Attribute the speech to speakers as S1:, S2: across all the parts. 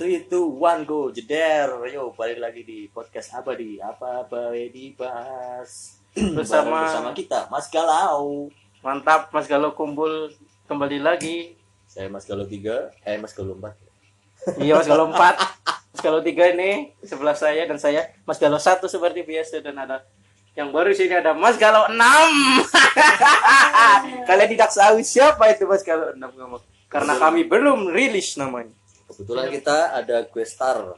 S1: Three, two, one, go, jeder. Yo, balik lagi di podcast apa di apa apa dibahas
S2: Bersama-
S1: Bareng bersama kita, Mas Galau.
S2: Mantap, Mas Galuh kumpul kembali lagi.
S1: Saya Mas Galau tiga, eh Mas Galau empat.
S2: Iya, Mas Galuh 4. Mas Galuh 3 ini sebelah saya dan saya. Mas Galuh 1 seperti biasa dan ada yang baru sini ada Mas Galuh 6. Kalian tidak tahu siapa itu Mas Galuh 6 kamu. Karena kami belum rilis namanya. Iya.
S1: Kebetulan kita ada gue star.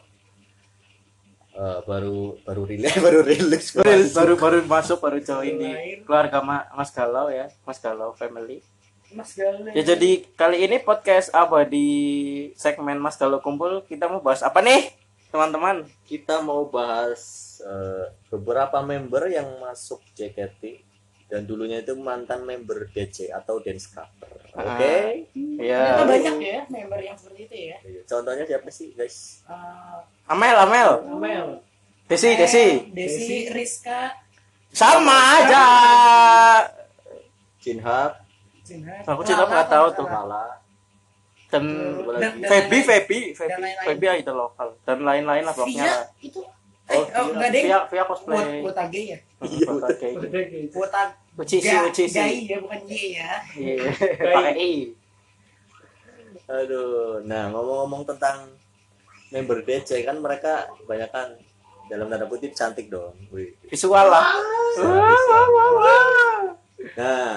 S1: Eh, baru baru rilis baru rilis
S2: Baru baru, baru masuk baru join di keluarga Ma- Mas Galuh ya, Mas Galuh family.
S3: Mas Gale.
S2: Ya jadi kali ini podcast apa di segmen Mas Galuh kumpul kita mau bahas apa nih teman-teman?
S1: kita mau bahas eh, beberapa member yang masuk JKT dan dulunya itu mantan member DC atau Dance Cover. Oke. Iya.
S2: Ah. Ya.
S3: Ternyata banyak ya member yang seperti itu ya.
S1: Contohnya siapa sih, guys?
S3: Eh,
S2: Amel, Amel.
S3: Amel,
S2: Desi, Desi.
S3: Eh, Desi, Rizka,
S2: Sama aja.
S1: Jinhab,
S3: Jinhat.
S2: Aku cinta nggak tahu tuh.
S1: Kala,
S2: Dan
S1: Siapa
S3: Hmm.
S1: lagi?
S3: Dan- dan
S2: Feby,
S3: lain-lain.
S2: Feby,
S3: Dan
S2: Feby,
S3: lain-lain.
S2: Feby idol lokal dan lain-lain lah blognya.
S3: Via
S2: lah.
S3: itu eh
S1: Oh,
S3: oh,
S1: Via.
S3: enggak deh.
S2: Via, via
S3: Buat
S2: cosplay.
S3: buat age ya.
S1: Iya,
S2: Oke.
S3: Buat
S2: Ucisi, ucisi.
S3: ya bukan Y ya.
S2: Iya, Pakai i.
S1: Aduh, nah ngomong-ngomong tentang member DC kan mereka kebanyakan dalam tanda kutip cantik dong. Wih.
S2: Visual lah.
S1: Bisa, bisa. Nah,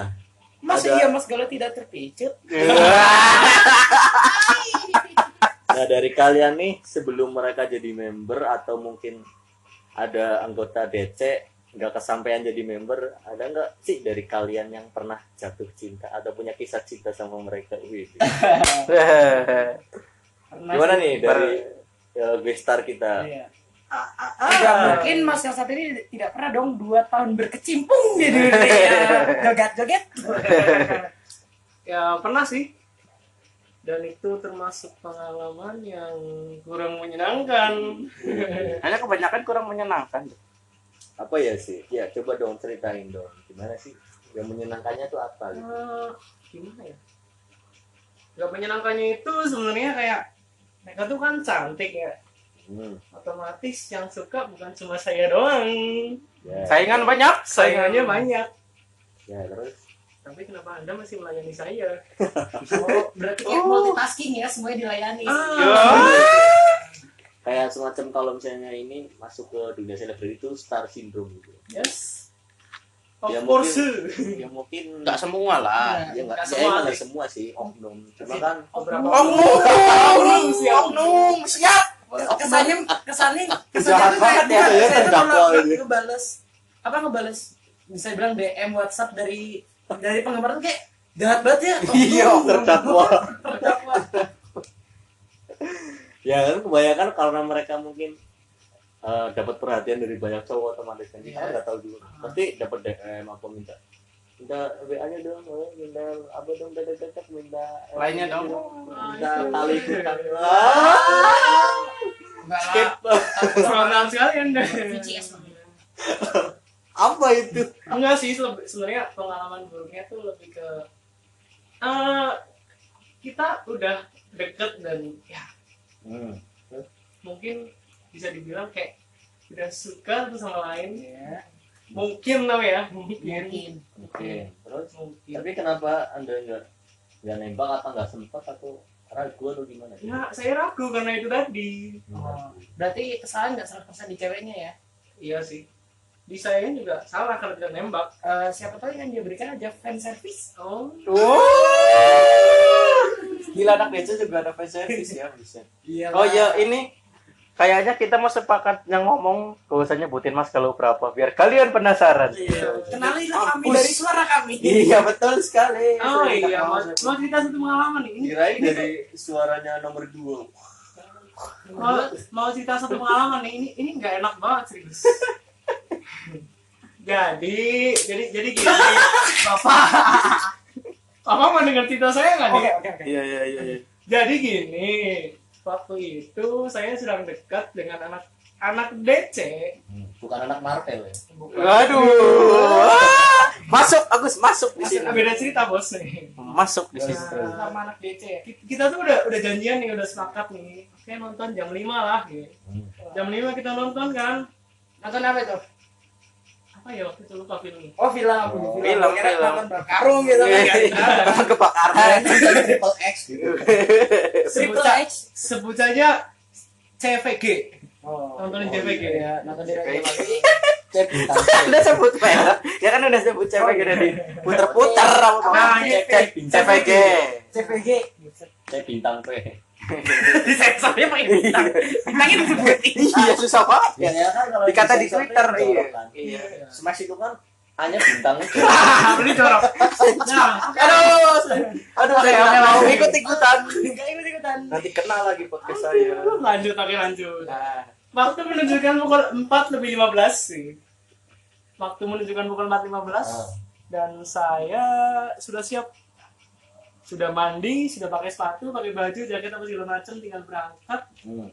S3: Mas
S1: Ada-
S3: iya Mas Gale tidak terpicut. Iya.
S1: nah dari kalian nih sebelum mereka jadi member atau mungkin ada anggota DC nggak kesampaian jadi member ada nggak sih dari kalian yang pernah jatuh cinta atau punya kisah cinta sama mereka Wih. gimana nih dari uh, star kita
S3: Iya. Ah, ah, ah. Tidak
S2: Iya.
S3: mungkin Mas yang satu ini tidak pernah dong dua tahun berkecimpung di dunia joget-joget.
S4: Ya pernah sih. Dan itu termasuk pengalaman yang kurang menyenangkan.
S2: Hanya kebanyakan kurang menyenangkan.
S1: apa ya sih ya coba dong ceritain dong gimana sih yang menyenangkannya tuh apa gitu
S4: Eh, gimana ya? Gak menyenangkannya itu sebenarnya kayak mereka tuh kan cantik ya.
S1: hmm,
S4: Otomatis yang suka bukan cuma saya doang.
S1: ya,
S2: Saingan banyak,
S4: Saingannya
S2: Oh.
S4: banyak.
S1: ya terus
S4: Tapi kenapa anda masih melayani saya?
S3: Oh, Ya, berarti kayak multitasking ya, semuanya dilayani.
S4: Ah. Iya.
S1: kayak semacam kalau misalnya ini masuk ke dunia selebriti itu star syndrome gitu
S4: Yes. Of
S1: Ya,
S4: course.
S1: ya mungkin
S2: Enggak semua lah.
S1: ya nggak
S4: nggak
S1: ya,
S4: semua
S1: emang
S4: sih. Iya.
S1: nggak semua sih oknum cuma kan
S3: Oh,
S4: Beberapa
S2: Oknum, oknum, siap.
S3: Oh, kesannya kesannya kesannya
S2: Jahat
S3: tuh
S2: banget ya,
S3: kayak saya
S1: ya,
S3: tuh
S1: terdakwa
S3: kalau
S1: ini.
S3: ngebales apa ngebales bisa bilang DM WhatsApp dari dari penggemar tuh kayak jahat banget ya oh,
S1: Iya,
S3: tuh,
S1: terdakwa.
S3: terdakwa
S1: ya kan kebanyakan karena mereka mungkin eh, dapat perhatian dari banyak cowok otomatis kan kita
S3: Iya.
S1: nggak tahu dulu pasti dapat DM apa minta minta WA nya dong eh, minta apa dong dada dada minta eh,
S2: Lainnya dong.
S1: minta tali gitu. bintang Ah,
S3: enggak
S1: skip
S4: Frontal sekali anda.
S3: VCS
S1: apa itu
S4: Enggak sih, sebe- sebenarnya pengalaman buruknya tuh lebih ke eh kita udah deket dan ya
S1: hmm.
S4: mungkin bisa dibilang kayak udah suka satu sama lain.
S3: ya
S4: Mungkin tau ya, mungkin.
S3: mungkin
S1: oke terus
S4: Mungkin.
S1: tapi kenapa anda nggak nggak nembak apa nggak sempat atau ragu atau gimana
S4: Ya, saya ragu karena itu tadi.
S3: Oh, berarti kesalahan nggak 100% di ceweknya ya
S4: Iya sih. Di saya juga salah karena tidak nembak.
S3: Eh, siapa tahu yang dia berikan aja fan service
S4: Oh,
S2: Oh! Gila anak DC juga ada fan service ya bisa.
S3: iya
S2: Oh ya ini kayaknya kita mau sepakat yang ngomong gak usah nyebutin mas kalau berapa biar kalian penasaran.
S3: kenalilah kami
S2: Mampus.
S3: dari suara kami
S2: Iya betul sekali.
S4: oh iya, mau, mau cerita satu pengalaman nih. Ini,
S1: kirain
S4: ini
S1: dari suaranya nomor dua
S4: mau, mau cerita satu pengalaman nih ini ini nggak enak banget serius jadi jadi jadi gini bapak bapak mau dengar cerita saya nggak nih
S3: oke oke oke
S2: Iya iya iya. iya.
S4: jadi gini waktu itu saya sedang dekat dengan anak anak DC
S1: bukan anak Hmm, Marvel ya
S4: bukan
S2: Aduh. Ah! Masuk Agus, masuk di
S4: Masih
S2: sini.
S4: beda cerita bos nih.
S2: Masuk di sini.
S4: Nah,
S3: sama anak DC ya
S4: ki- kita tuh udah udah janjian nih, udah sepakat nih. Oke nonton jam 5 lah gitu.
S5: Hmm.
S4: Jam 5 kita nonton kan.
S3: nonton apa itu
S4: Apa ya waktu itu lupa filmnya.
S3: oh film
S5: Oh.
S2: Film,
S3: Kira
S2: film.
S3: nonton berkarung gitu kan
S2: Emang kebakaran.
S5: Triple X gitu.
S4: Sebut,
S3: Triple X
S4: sebut saja CVG.
S3: Oh. Oh,
S4: Nontonin CVG.
S3: iya, nonton di
S2: CVG.
S3: radio
S2: Udah sebut merek. Ya kan udah sebut CVG udah di puter-puter apa
S4: Nah,
S3: Iya,
S2: cek
S4: cek-
S2: CVG.
S3: CVG
S5: Saya bintang P.
S4: Di sensornya pakai bintang. Bintangnya disebutin.
S2: Iya susah banget. ya.
S5: Biasanya kan kalau
S2: Dikata di
S5: sensor
S2: Twitter,
S5: tuh
S2: iya.
S5: jorokan.
S2: Iya.
S5: Smash itu kan hanya bintangnya.
S4: Ah, beli corok. Nah,
S2: Aduh, aduh saya nggak mau
S4: Oke.
S2: ikut ikutan.
S3: Enggak ikut-ikutan.
S2: Nanti kena lagi podcast saya.
S4: lanjut, oke lanjut.
S2: Nah,
S4: Waktu menunjukkan pukul 4 lebih 15 sih. Waktu menunjukkan pukul 4.15
S5: Ah.
S4: dan saya sudah siap. Sudah mandi, sudah pakai sepatu, pakai baju, jaket apa segala macam, tinggal berangkat.
S5: Hmm.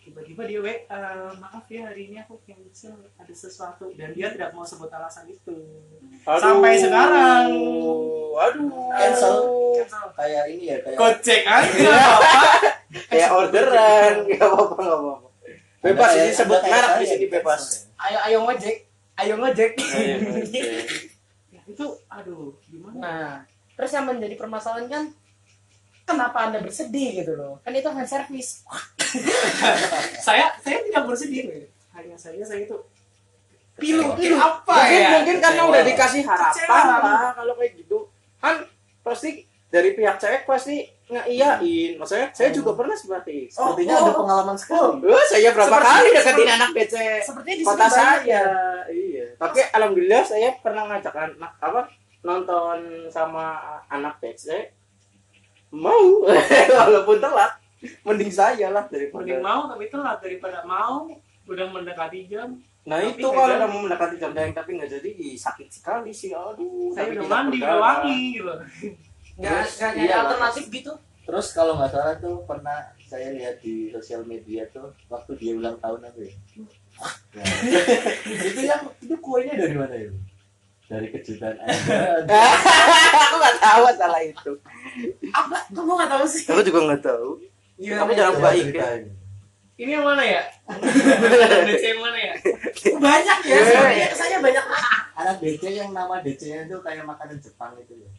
S4: Tiba-tiba dia WA, maaf ya hari ini aku cancel ada sesuatu dan dia tidak mau sebut alasan itu. Sampai sekarang.
S2: Aduh.
S5: Cancel.
S4: Cancel.
S5: Kayak ini ya kayak
S4: Gojek aja.
S2: Kayak orderan, nggak apa-apa, nggak apa-apa. Bebas ini
S5: Ada
S1: ya,
S5: kayak-
S2: sebut
S5: ada kayak
S2: merek
S5: saya
S2: di sini
S5: yang
S2: bebas.
S5: cancel ya.
S3: Ayo ayo ngojek. Ayo ngojek.
S5: Iya.
S4: Ya, itu aduh gimana?
S3: Nah, terus yang menjadi permasalahan kan kenapa Anda bersedih gitu loh. Kan itu hand service.
S4: Saya saya tidak bersedih. Hanya saja saya itu
S3: Pilu,
S5: Kecewa.
S3: pilu apa
S2: mungkin
S3: ya?
S2: mungkin karena
S5: Kecewa.
S2: udah dikasih harapan
S4: Kecewa.
S2: lah kalau kayak gitu kan pasti dari pihak cewek pasti ngeiyain maksudnya saya juga pernah seperti itu
S5: Sepertinya
S3: Oh,
S5: ada
S3: oh.
S5: pengalaman sekali.
S2: Eh, saya berapa
S3: Seperti-
S2: kali deketin
S3: seperti-
S2: anak DC
S3: Sepertinya di
S2: kota
S3: sini banyak
S2: saya
S3: ya.
S2: iya tapi alhamdulillah saya pernah ngajak anak apa nonton sama anak DC mau walaupun telat mending saya lah
S4: mending
S2: daripada
S4: mau tapi telat daripada mau udah mendekati jam.
S2: nah
S4: Tapi
S2: itu
S4: nggak
S2: kalau
S4: jadi.
S2: udah mau mendekati jam dayang tapi nggak jadi ih, sakit sekali sih aduh
S4: Saya
S2: sakit
S4: udah
S2: tidak
S4: mandi, udah
S2: berdarah.
S4: wangi gitu.
S3: Enggak
S5: Terus,
S3: enggak nyari
S5: iya lah.
S3: alternatif gitu.
S5: Terus kalau nggak salah tuh pernah saya lihat di sosial media tuh waktu dia ulang tahun apa ya? Nah, itu yang itu kuenya dari mana itu? Dari kejutan Anda.
S2: aku nggak tahu salah itu
S3: Apa? Kok gua enggak tahu sih.
S2: aku juga nggak tahu
S3: Iya,
S2: Kamu jangan
S5: Coba
S2: baik ya
S5: ceritain.
S4: Ini yang mana ya? DC yang mana ya?
S3: banyak ya.
S2: Iya.
S3: Sebenarnya saya banyak
S5: Anak DC yang nama DC-nya tuh kayak makanan Jepang itu ya.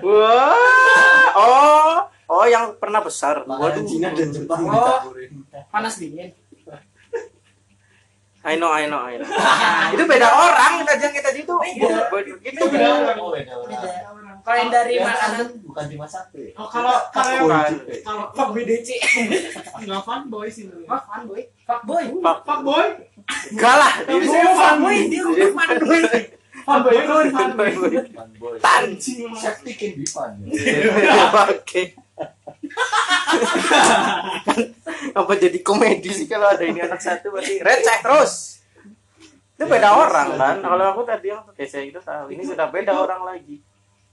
S2: wah oh oh yang pernah besar
S5: Makanan
S2: waduh
S5: Cina dan Jepang
S3: Oh.
S5: ditaburin.
S3: panas dingin.
S2: I know I know I know Nah, itu beda orang kita jangan kita itu
S3: Beda.
S2: itu
S4: Beda orang.
S5: Oh, beda orang.
S3: Beda. Kalau yang dari
S5: Ya,
S3: makanan
S5: kan bukan cuma satu ya.
S4: Oh, kalau kalau
S2: Bukan.
S4: kalau
S3: Fuck boy DC.
S4: nggak fun boy sih dulu.
S3: Fuck fun boy. Fuck boy.
S2: Fuck.
S4: Fuck boy.
S2: enggak lah
S4: Tapi saya fun boy.
S3: Dia ngomong fun boy.
S4: Fun boy itu fun boy.
S2: Tanjing.
S5: Fun boy.
S2: Tanjing.
S5: Safety can be fun.
S2: oke apa jadi komedi sih kalau ada ini anak satu pasti receh terus itu beda orang kan kalau aku tadi yang biasa itu tahu ini sudah beda orang lagi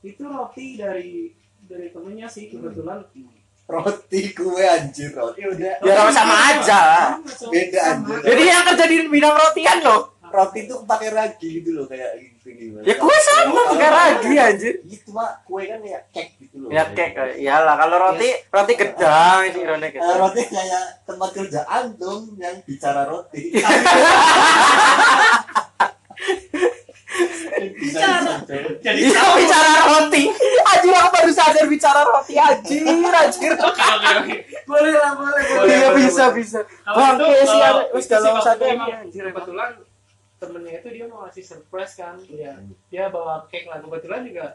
S4: Itu roti dari dari temennya sih kebetulan.
S5: Roti kue anjir roti.
S4: Ya udah.
S2: ya sama sama aja lah
S5: Beda anjir.
S2: Jadi yang kerja di bidang rotian loh.
S5: roti tuh pakai ragi gitu loh kayak gitu gimana.
S2: Ya kue sama kayak ragi anjir.
S5: Iya cuma kue kan kayak cake gitu loh.
S2: Ya kek, eh, iyalah kalau roti roti gedang ini roti
S5: Eh,
S2: gedang.
S5: roti kayak tempat kerja antum yang bicara roti. bicara.
S4: Jadi
S2: Iya bicara roti. Anjir aku baru sadar bicara roti anjir anjir.
S3: Boleh lah, boleh. boleh.
S2: Iya
S4: boleh,
S2: bisa
S4: boleh.
S2: bisa.
S4: Kalau
S2: Bang,
S4: itu,
S2: kayak sih,
S4: kalau
S2: wis
S4: itu
S2: kalau
S4: sih,
S2: satu
S4: waktu
S2: ini,
S4: emang
S2: anjir, emang.
S4: kebetulan temennya itu dia mau ngasih surprise kan dia
S2: Hmm.
S4: dia bawa cake lah kebetulan juga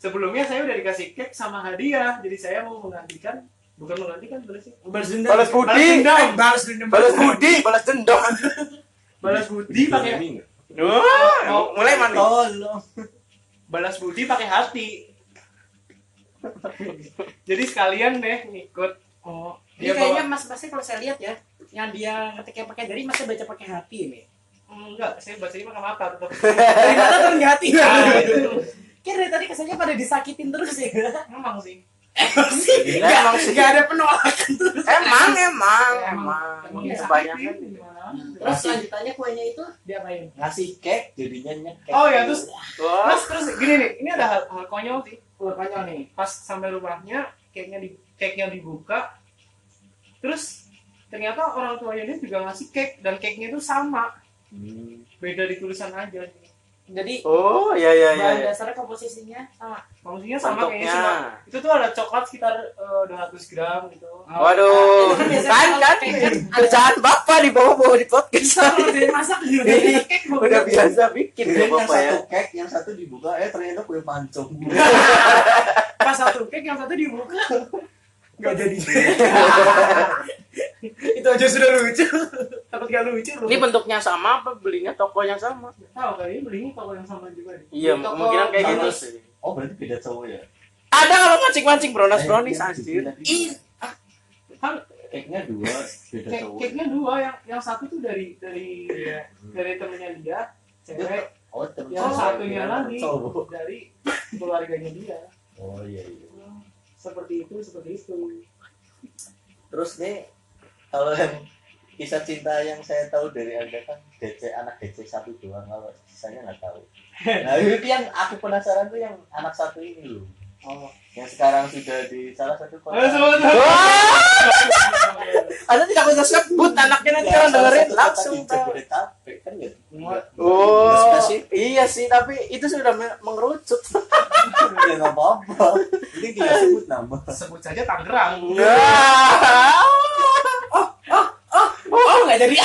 S4: sebelumnya saya udah dikasih cake sama hadiah jadi saya mau menggantikan bukan menggantikan balas
S3: Balas dendam.
S2: Balas budi.
S4: Balas dendam.
S2: Eh,
S3: Balas dendam.
S2: Balas budi, balas dendam.
S4: balas budi pakai
S2: Wah, mulai mantap.
S5: Tolong.
S4: balas budi pakai hati jadi sekalian deh ngikut
S3: Oh,
S2: Iya,
S4: Dia
S3: ini kayaknya
S4: bawa-
S3: Mas Masnya kalau saya lihat ya, yang dia ketiknya pakai jari masih baca pakai hati ini.
S4: Hmm, enggak saya bacanya pakai mata tetap
S3: Dari
S2: kan
S3: mata turun ke hati.
S4: Ah, itu
S3: Kayak Iya. dari tadi kesannya pada disakitin terus ya.
S4: emang sih
S3: Enggak,
S2: Nah, Emang sih.
S3: enggak ada penolakan terus.
S2: Emang, emang,
S4: Emang.
S2: emang.
S4: Emang
S2: Kebanyakan. gitu.
S4: Gimana?
S6: Terus
S2: Masih.
S6: lanjutannya kuenya itu
S4: diapain
S1: ngasih cake jadinya nyekek
S4: oh ya terus
S2: Wah.
S4: terus terus gini nih ini ada hal, hal konyol sih
S3: Wah, konyol nih.
S4: pas sampai rumahnya cake nya di cake nya dibuka terus ternyata orang tuanya dia juga ngasih cake dan cake nya itu sama
S1: Hmm.
S4: beda di tulisan aja
S3: Jadi
S2: Oh, ya ya ya.
S3: bahan
S2: ya.
S3: dasarnya komposisinya sama.
S4: maksudnya sama
S2: Bentuknya.
S4: kayaknya cuma itu tuh ada coklat sekitar eh, 200 gram gitu
S2: Waduh,
S3: Itu biasanya
S2: kan
S3: kalau
S2: kan
S3: kayak kan ada-
S2: kerjaan bapak dibawa-bawa di podcast.
S3: Kalau dia masak juga
S2: Iya.
S3: cake
S2: Udah biasa bikin ya
S1: Kirain yang
S2: bapak ya.
S1: satu cake yang satu dibuka eh ternyata kue pancong
S4: pas satu cake yang satu dibuka
S3: Gak jadi.
S4: itu aja sudah lucu takut gak lucu lu
S2: Ini bentuknya sama apa belinya tokonya sama?
S4: tahu kali ini belinya toko yang sama juga deh
S2: Iya,
S3: Di toko
S2: kemungkinan kayak
S1: sama.
S2: gitu sih.
S1: oh berarti beda cowok ya
S2: Ada kalau mancing-mancing bronas brownies
S1: Eh,
S2: anjir.
S1: iya.
S2: Ih,
S4: kan
S1: cake nya dua beda
S4: cake
S1: cowok
S4: cake nya dua yang yang satu tuh dari dari
S2: Iya.
S4: dari temennya dia cewek
S1: oh terus
S4: yang
S2: iya.
S4: satunya lagi
S1: cowok
S4: dari keluarganya dia
S1: oh iya iya
S4: seperti itu seperti itu
S1: terus nih kalau yang kisah cinta yang saya tahu dari anda kan DC anak DC satu doang kalau sisanya nggak tahu nah itu yang aku penasaran tuh yang anak satu ini loh
S4: oh
S1: yang sekarang sudah di salah satu kota
S4: Eh, sebelum-
S2: Wah, Anda tidak usah sebut anaknya nanti
S1: Ya,
S2: orang
S1: salah
S2: dengerin
S1: satu kota
S2: langsung
S1: di
S2: tahu.
S1: Jabodetabek kan ya
S2: Oh,
S1: Nggak spesifik.
S2: iya sih, tapi itu sudah me- mengerucut.
S1: ya nggak apa-apa ini tidak sebut nama
S4: sebut saja Tangerang
S2: Oh, iya, Wah. Oh, oh, oh, oh, oh, nggak jadi.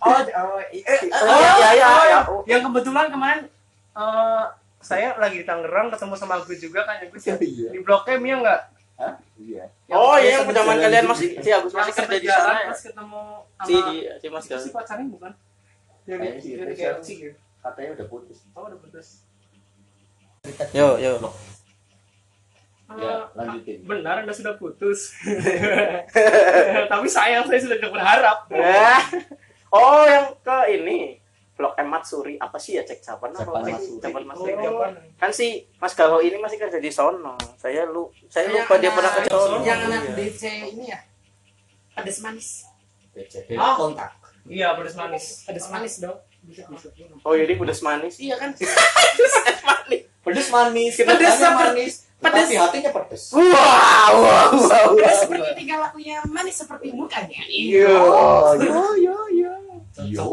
S4: oh oh eh,
S2: Oh, iya, iya, iya.
S4: yang kebetulan kemarin eh, saya lagi di Tangerang ketemu sama Agus juga kan Agus ya.
S1: Iya.
S4: di Blok M ya nggak
S1: Hah? iya
S2: Oh, iya, yang
S1: Yang
S2: zaman
S1: jalan
S2: kalian
S1: di-
S2: masih, si Agus masih
S4: Yang
S2: kerja
S4: sempet
S2: di
S4: jalan,
S2: sana ya?
S4: terus ketemu sama
S2: Si, di, si Mas
S4: itu si
S2: Galuh.
S4: pacarnya bukan jadi
S1: Kayaknya sih itu
S4: jadi
S1: sih.
S4: kayak sih
S1: katanya udah putus
S4: gitu. oh udah putus
S2: Yo, yo.
S1: ya
S4: Ah,
S1: lanjutin
S4: benar anda sudah putus tapi sayang saya sudah tidak berharap
S2: Eh. Oh, yang ke ini. Blok M Matsuri apa sih ya cek capan apa?
S1: Capan
S2: Cek
S1: Matsuri.
S2: Capan Matsuri.
S4: Oh.
S2: Kan si Mas Galuh ini masih kerja di sono. Saya lu saya
S3: Yang
S2: lupa dia
S3: anak-
S2: pernah kerja di sono.
S3: Yang anak
S1: Iya.
S3: DC ini ya. Pedes manis.
S1: DC
S4: Ah.
S1: kontak
S4: iya pedes manis
S3: Pedes manis dong.
S4: bisa bisa
S2: Oh, jadi pedes manis.
S3: Iya kan?
S1: pedes manis
S3: Pedes
S1: rasanya
S3: seperti-
S1: manis
S3: pedes.
S1: tapi hatinya pedes
S2: Wow, wow, wow.
S3: Pedes seperti tiga lakunya manis seperti mukanya.
S2: Yo, yo, yo, yo.
S1: yo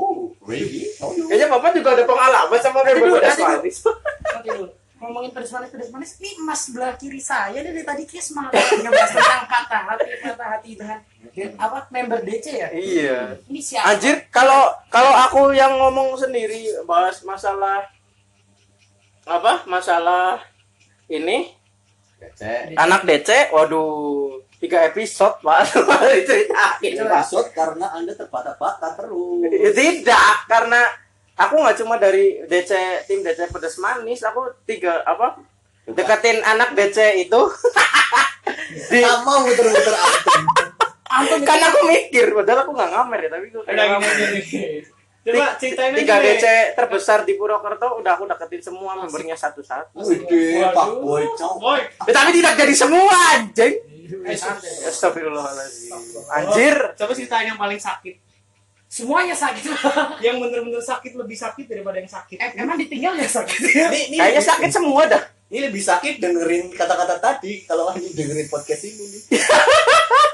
S1: ready oh, yo.
S2: Kayaknya Bapak juga ada pengalaman sama kayak
S3: Aduh,
S2: pedas
S3: aduh.
S2: manis.
S3: Nanti dulu. Ngomongin pedes manis, pedes manis. Ini mas sebelah kiri saya dia dari tadi kayak semangat banget ngebahas tentang patah hati, patah hati dengan apa member DC ya?
S2: Iya.
S3: Ini siapa?
S2: Anjir, kalau kalau aku yang ngomong sendiri bahas masalah apa? Masalah ini
S1: DC
S2: anak DC, waduh, tiga episode pak diceritain
S1: Ini
S2: ya, gitu, pak.
S1: maksud karena anda terbata-bata
S2: Ya,
S1: terus
S2: Tidak, karena aku nggak cuma dari DC tim DC pedes manis, aku tiga apa deketin anak DC itu. Di,
S1: Nggak mau muter-muter antum.
S3: Antum
S2: kan aku mikir, padahal aku nggak ngamer ya, tapi aku kayak
S4: udah gini
S2: ngamer.
S4: aja nih coba ceritain aja
S2: tiga
S4: deh.
S2: DC terbesar di Purwokerto udah aku deketin semua membernya satu-satu.
S1: Wede,
S4: Waduh.
S1: pak boy cowok
S4: boy
S2: Ya, tapi tidak jadi semua anjing.
S4: Eh, santai.
S2: Astagfirullahaladzim. Anjir.
S4: Oh, coba ceritain yang paling sakit
S3: Semuanya sakit.
S4: yang bener-bener sakit lebih sakit daripada yang sakit
S2: Eh,
S3: Em- Emang ditinggal ya sakit?
S1: ini, ini,
S2: Kayaknya sakit semua dah.
S1: ini lebih sakit dengerin kata-kata tadi kalau anjing dengerin podcast ini nih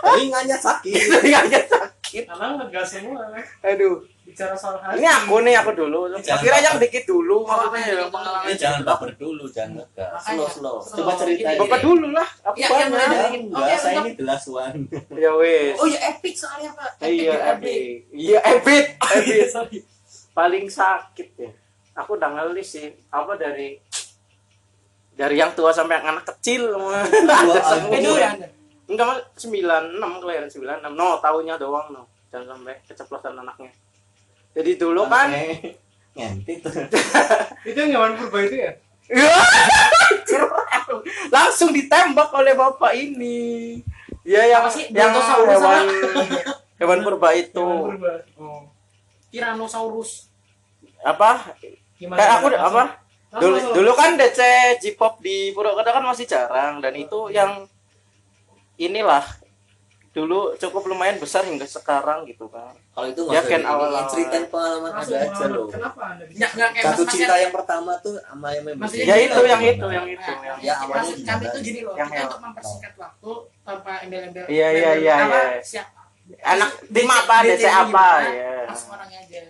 S1: telinganya sakit
S2: Telinganya sakit.
S4: karena ngegas semua
S2: Iya, Aduh.
S4: bicara soal hati
S2: Ini aku nih aku dulu.
S1: Jangan
S2: Kira yang
S1: baper.
S2: dikit dulu maksudnya
S3: Makanya
S2: ya,
S3: dikit
S2: pengalaman.
S1: Ini jangan baper dulu jangan ngegas slow
S3: Makanya.
S1: slow
S3: Slow.
S1: coba ceritain
S2: Bapak dulu lah, aku
S3: Iya, iya,
S2: banyak.
S3: boleh.
S1: Jangan,
S3: Oke,
S1: enggak, saya
S3: untuk-
S1: ini the last one
S2: Ya wes.
S3: Oh ya epic soalnya pak.
S2: Iya,
S3: epic.
S2: Ebit. Iya, Ebit. Ebit.
S3: Sorry.
S2: Paling sakit ya. Aku udah ngelis sih. Apa dari dari yang tua sampai yang anak kecil. Ada
S3: Eh dulu
S2: semua.
S3: ya Anda.
S2: Enggak mal 96 kelahiran 96. No, tahunnya doang no. Jangan sampai keceplosan anaknya. Jadi dulu kan
S1: Eh, ngentit
S4: itu yang zaman purba itu ya
S2: Iya. langsung ditembak oleh bapak ini. Ya yang
S3: Apa sih?
S2: yang
S3: Brontosaurus
S2: hewan hewan purba itu
S4: Zaman purba oh
S3: Tyrannosaurus.
S2: apa?
S4: gimana
S2: Kayak Eh, aku
S4: Langsung-
S2: apa?
S4: langsung-
S2: Dulu
S4: langsung-
S2: dulu kan DC Iya. J-pop di Purwokerto kan masih jarang dan itu yang inilah dulu cukup lumayan besar hingga sekarang gitu kan
S1: Kalau itu
S2: Ya,
S1: nggak
S2: Ken,
S1: usah
S2: awal-awal.
S1: ini ceritain pengalaman ada
S4: Langsung
S1: aja
S4: pengalaman.
S1: loh.
S4: Kenapa Anda bisa?
S2: Iya.
S3: Nggak, nggak kayak
S1: Satu
S3: Mas Mas
S1: cinta
S3: ya.
S1: yang pertama tuh sama yang member.
S3: Maksudnya
S2: ya itu
S3: Gimana?
S2: yang itu yang itu yang
S3: Nah,
S1: Ya, awalnya
S3: maksud kami
S1: gimana?
S3: itu gini loh,
S2: Yang
S3: kita
S2: yang-
S3: untuk mempersingkat waktu tanpa embel-embel.
S2: Iya, iya,
S3: embel-embel
S2: iya,
S3: apa,
S2: iya.
S3: Siapa?
S2: anak
S3: DC
S2: tim apa DC
S3: DC
S2: apa
S3: gimana,
S2: ya
S3: Langsung orangnya aja.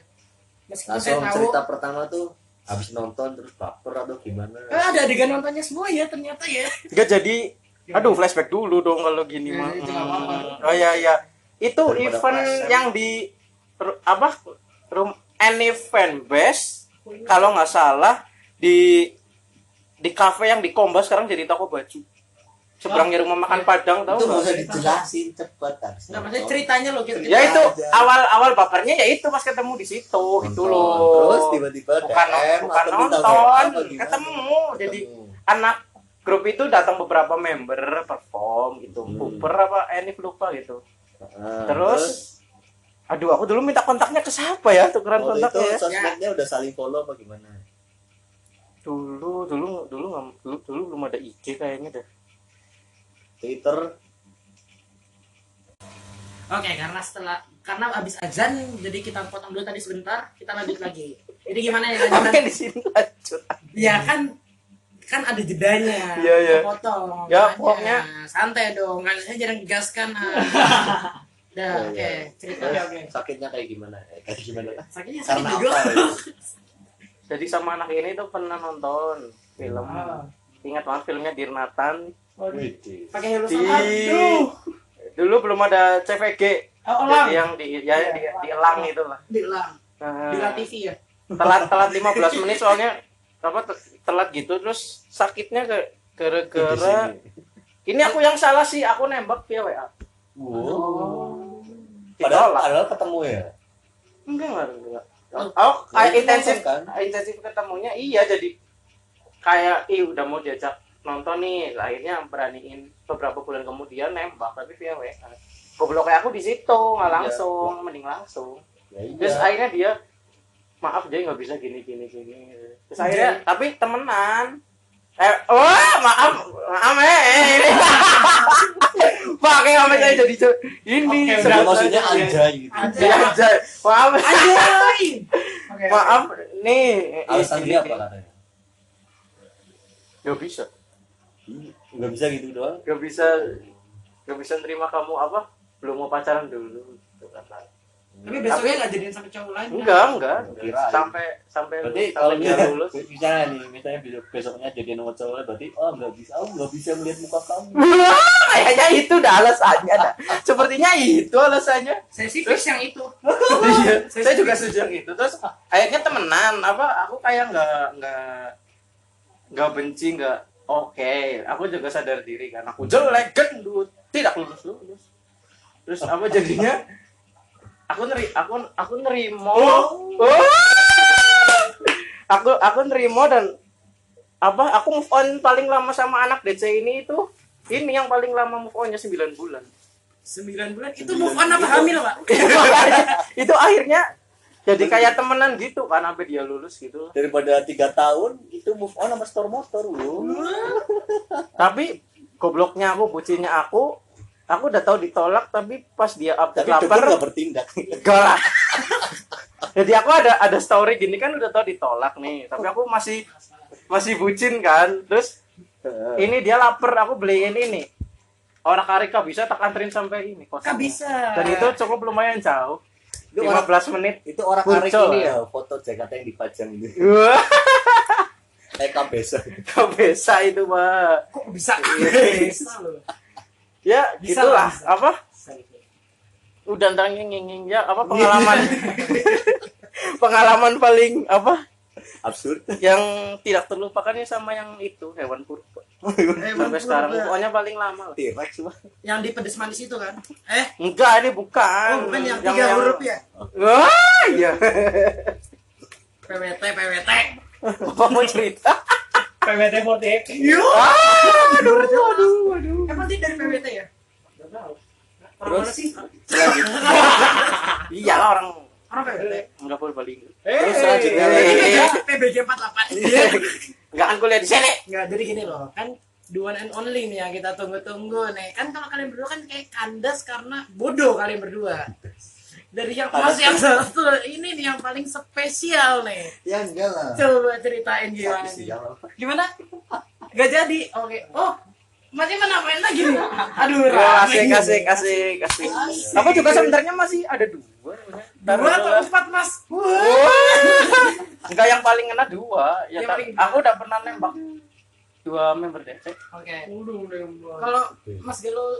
S3: Meskipun saya
S1: Langsung
S3: tahu,
S1: cerita pertama tuh habis nonton terus baper atau gimana?
S3: eh, ada adegan nontonnya semua ya ternyata ya.
S2: nggak jadi aduh flashback dulu dong kalau gini
S3: Ya,
S2: mah
S3: Iya. itu nggak apa-apa.
S2: oh ya ya itu
S1: Daripada
S2: event
S1: flashback.
S2: yang di ru- apa room any fan base kalau nggak salah di di kafe yang di Komba sekarang jadi toko baju seberangnya rumah makan Padang tahu
S1: itu nggak
S2: nggak? Nah,
S1: usah dijelasin cepet harus
S3: Nggak maksudnya
S1: nonton.
S3: ceritanya loh
S1: gitu.
S3: kita.
S2: ya itu
S1: aja.
S2: awal awal bapernya ya itu pas ketemu di situ gitu
S1: Nonton.
S2: loh
S1: Terus tiba-tiba
S2: bukan
S1: DM
S2: bukan
S1: atau minta WA
S2: nonton
S1: apa gitu? gimana?
S2: ketemu jadi
S1: Ketemu.
S2: anak grup itu datang beberapa member perform gitu
S1: Hmm.
S2: Cooper apa Enif lupa gitu
S1: Heeh.
S2: terus aduh aku dulu minta kontaknya ke siapa ya tukeran
S1: waktu itu
S2: kontaknya ya
S1: sosmednya udah saling follow apa gimana?
S2: dulu dulu dulu nggak- dulu, dulu belum ada IG kayaknya deh
S1: Twitter
S3: Oke, karena setelah karena habis azan jadi kita potong dulu tadi sebentar, kita lanjut lagi. Jadi gimana ya
S2: Oke
S3: lanjutan?
S2: di sini lanjut
S3: Ya kan kan ada jedanya.
S2: Iya, iya.
S3: Potong.
S2: Ya, pokoknya.
S3: santai dong. Kan saya jarang gas kan. ah. Dah,
S1: Oh,
S3: oke.
S1: iya.
S3: Cerita.
S1: terus
S4: oke.
S1: sakitnya kayak gimana? Eh, kayak gimana?
S3: Sakitnya sakit
S1: Karena
S3: juga.
S1: apa? ya?
S2: jadi sama anak ini tuh pernah nonton film
S4: Ah.
S2: ingat banget filmnya Dirnatan
S4: Waduh.
S1: Widih.
S3: Pakai helm
S2: di
S3: sama.
S4: Aduh.
S2: dulu belum ada CVG jadi
S4: Oh, Elang.
S2: yang di ya, yang di, di Elang itu lah
S3: Bilang.
S2: Nah.
S3: Bilang TV ya.
S2: telat telat 15 menit soalnya apa te- telat gitu terus sakitnya ke
S1: Di
S2: gara-gara
S1: sini.
S2: ini aku yang salah sih aku nembak via WA
S1: Wow. Padahal,
S2: ditolak
S1: padahal ketemu ya.
S2: enggak enggak enggak
S1: Oh.
S2: oh
S1: Ya, itu
S2: intensif
S1: nonton,
S2: intensif ketemunya iya jadi kayak ih udah mau diajak nonton nih Lah, akhirnya beraniin beberapa bulan kemudian nembak tapi via WA goblok kayak aku di situ nggak
S1: Iya.
S2: langsung mending langsung
S1: Ya, iya.
S2: terus akhirnya dia maaf dia nggak bisa gini gini gini terus
S1: Iya.
S2: akhirnya tapi temenan eh wah maaf maaf eh eh, ini pakai apa saya jadi co- ini
S4: Oke, udah,
S1: Dia
S2: sebelum-
S1: maksudnya anjay gitu.
S2: Dia aja. maaf
S3: Anjay.
S4: Oke.
S2: maaf nih eh,
S1: Alasan
S2: ini-
S1: dia apa katanya?
S2: nggak bisa Iya.
S1: Enggak bisa gitu doang.
S2: nggak bisa nggak bisa terima kamu apa belum mau pacaran dulu gitu kata.
S3: Tapi besoknya nggak jadian sama cowok lain. kan?
S2: enggak enggak
S1: Kirain.
S2: sampai sampai
S1: Berarti kalau
S2: sampai dia
S1: misalnya
S2: lulus
S1: misalnya nih, misalnya besok- besoknya jadi nomor cowoknya berarti oh nggak bisa, oh nggak bisa melihat muka kamu.
S2: Wah, Kayaknya itu dah alasannya dah. Sepertinya itu alasannya.
S3: Saya sih fix yang itu.
S2: Iya, saya juga setuju yang itu. Terus akhirnya temenan apa aku kayak nggak nggak nggak benci nggak oke. Aku juga sadar diri kan aku jelek gendut tidak lulus lulus. Terus apa jadinya? Aku neri aku aku nerimo. Oh. Wah! Aku aku nerimo dan apa aku move on paling lama sama anak DC ini itu ini yang paling lama move onnya 9 bulan.
S3: Sembilan bulan itu move on apa hamil pak?
S2: itu akhirnya jadi kayak temenan gitu kan sampai dia lulus gitu
S1: Daripada tiga tahun itu move on sama store motor lu.
S2: Hmm. tapi gobloknya aku bucinnya aku aku udah tahu ditolak tapi pas dia update
S1: Tapi dukun nggak
S2: lapar
S1: bertindak.
S2: galak jadi aku ada ada story gini kan udah tahu ditolak nih tapi aku masih masih bucin kan terus ini dia lapar aku beliin ini orang karika bisa tak anterin sampai ini kos
S3: Nggak bisa.
S2: dan itu cukup lumayan jauh
S1: Kan Itu orang-
S2: 15 menit
S1: itu orang
S2: Muncul.
S1: tarik ini ya foto Jakarta yang dipajang gitu
S2: wah
S1: TK besok
S2: bisa itu mah
S3: kok bisa? Bisa loh.
S2: ya
S3: Bisa
S2: gitulah
S3: lah, bisa.
S2: apa
S3: Bisa gitu.
S2: udah nanging nging ya apa pengalaman pengalaman paling apa
S1: absurd
S2: yang tidak terlupakan ya sama yang itu hewan purba sampai sekarang pokoknya paling lama lah.
S1: T-Rex mah
S3: Yang di pedes manis itu kan? Eh,
S2: enggak ini bukan
S3: oh, bukan yang tiga huruf ya?
S2: wah iya
S3: PWT, PWT.
S2: apa mau cerita
S4: PWT 48.
S3: Yuk.
S2: Ah, aduh aduh aduh
S3: Emang dia Eh, dari PWT ya?
S4: Nggak tahu.
S3: Orang mana sih?
S2: iyalah Iya orang
S3: Orang PWT.
S2: enggak boleh balik
S1: Terus selanjutnya
S3: Iya.
S2: Eh.
S3: PBG, PBG 48. Iya.
S2: enggak kan kuliah di sini
S3: Enggak, jadi gini loh, kan the one and only nih yang kita tunggu-tunggu nih kan kalau kalian berdua kan kayak kandas karena bodoh kalian berdua dari yang mas yang satu ini nih yang paling spesial nih
S1: Ya enggak lah.
S3: coba ceritain gimana
S1: Tapi
S3: nih.
S1: sial apa?
S3: gimana gak jadi oke oh masih menamain lagi nih aduh
S2: Wah,
S3: rame.
S2: asik, asik, asik, asik. Aku juga sebenarnya masih ada dua.
S3: dua atau
S2: Dua.
S3: empat mas
S2: Enggak yang paling kena dua. Ya,
S3: Yang
S2: ta-
S3: paling-
S2: aku udah pernah nembak dua member DC.
S3: oke
S4: Udah, udah, udah.
S3: kalau mas gelo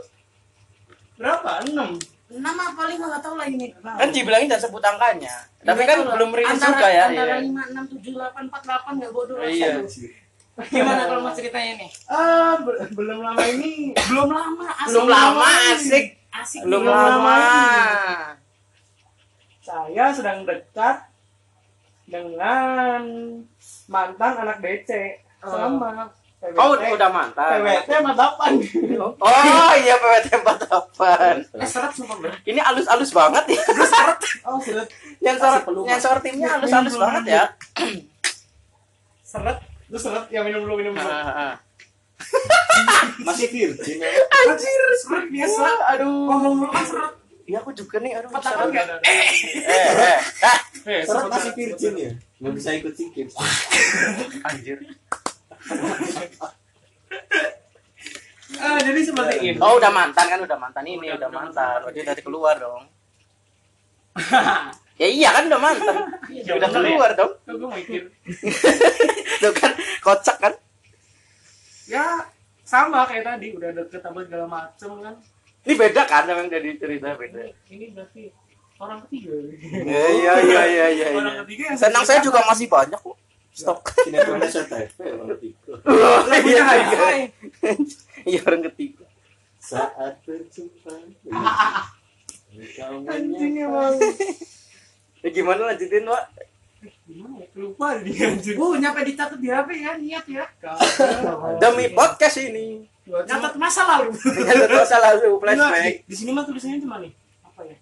S4: berapa? Enam.
S3: nama paling nggak tahu lah ini
S2: Kan dibilangin jangan sebut angkanya. Tapi
S3: Nggak
S2: kan
S3: tahu lah.
S2: belum rilis
S3: Antara-
S2: juga ya.
S3: antara
S2: Iya.
S3: lima enam tujuh delapan empat delapan nggak bodoh
S2: Iya.
S3: gimana kalau mas ceritanya nih
S4: Ah, be- belum lama ini
S3: belum lama asik
S2: Belum lama, asik.
S3: asik
S2: Belum
S4: Belum
S2: lama.
S4: saya sedang dekat dengan mantan anak DC Oh. sama PWT.
S2: Oh, udah mantan.
S4: PWT sama Tapan.
S2: Oh, iya PWT 48.
S3: eh seret sumpah bro
S2: Ini alus-alus banget ya.
S4: Oh, sudah.
S2: Yang sor yang sor timnya alus-alus banget ya.
S4: Seret. Terus seret yang minum dulu minum dulu.
S1: Masih virgin. ya?
S4: Anjir, seret biasa.
S2: Wah, aduh.
S4: Ngomong dulu kan seret.
S2: Ya aku juga nih, aduh. seret.
S4: Tapan nggak? Eh,
S2: Eh, eh. Ah,
S1: Serat masih virgin ya. Nggak bisa ikut sikit.
S2: Anjir.
S4: Ah, jadi seperti itu.
S2: Oh udah mantan kan udah mantan ini
S4: Udah,
S2: udah,
S4: udah
S2: mantan.
S4: mantan.
S2: Berarti tadi keluar dong. ya iya kan udah mantan. udah
S4: bener ya.
S2: keluar dong.
S4: Kok gue mikir.
S2: Tuh kan kocak kan.
S4: Ya, sama kayak tadi udah deket apa segala macem kan.
S2: Ini beda kan memang dari cerita beda.
S4: Ini, ini berarti orang ketiga. ya?
S2: Iya iya iya iya iya.
S4: Orang ketiga yang
S2: Senang saya juga masih banyak kok. Stok.
S1: Sinetronnya Short TV ya, orang tiga.
S2: Iya
S4: punya
S2: iya,
S4: hari.
S2: iya. Iya orang ketiga.
S1: Saat berjumpa. Engkau
S4: anjing
S1: menyapa.
S4: emang.
S2: Ya, gimana lanjutin Wak?
S4: Gimana ya? Lupa tadi anjing.
S3: uh nyampe dicatat di HP ya niat ya
S2: Demi podcast ini.
S3: catat masa lalu
S2: Dengan masa lalu flashback.
S4: Enggak, di, di sini mah tulisannya cuma nih. Apa ya?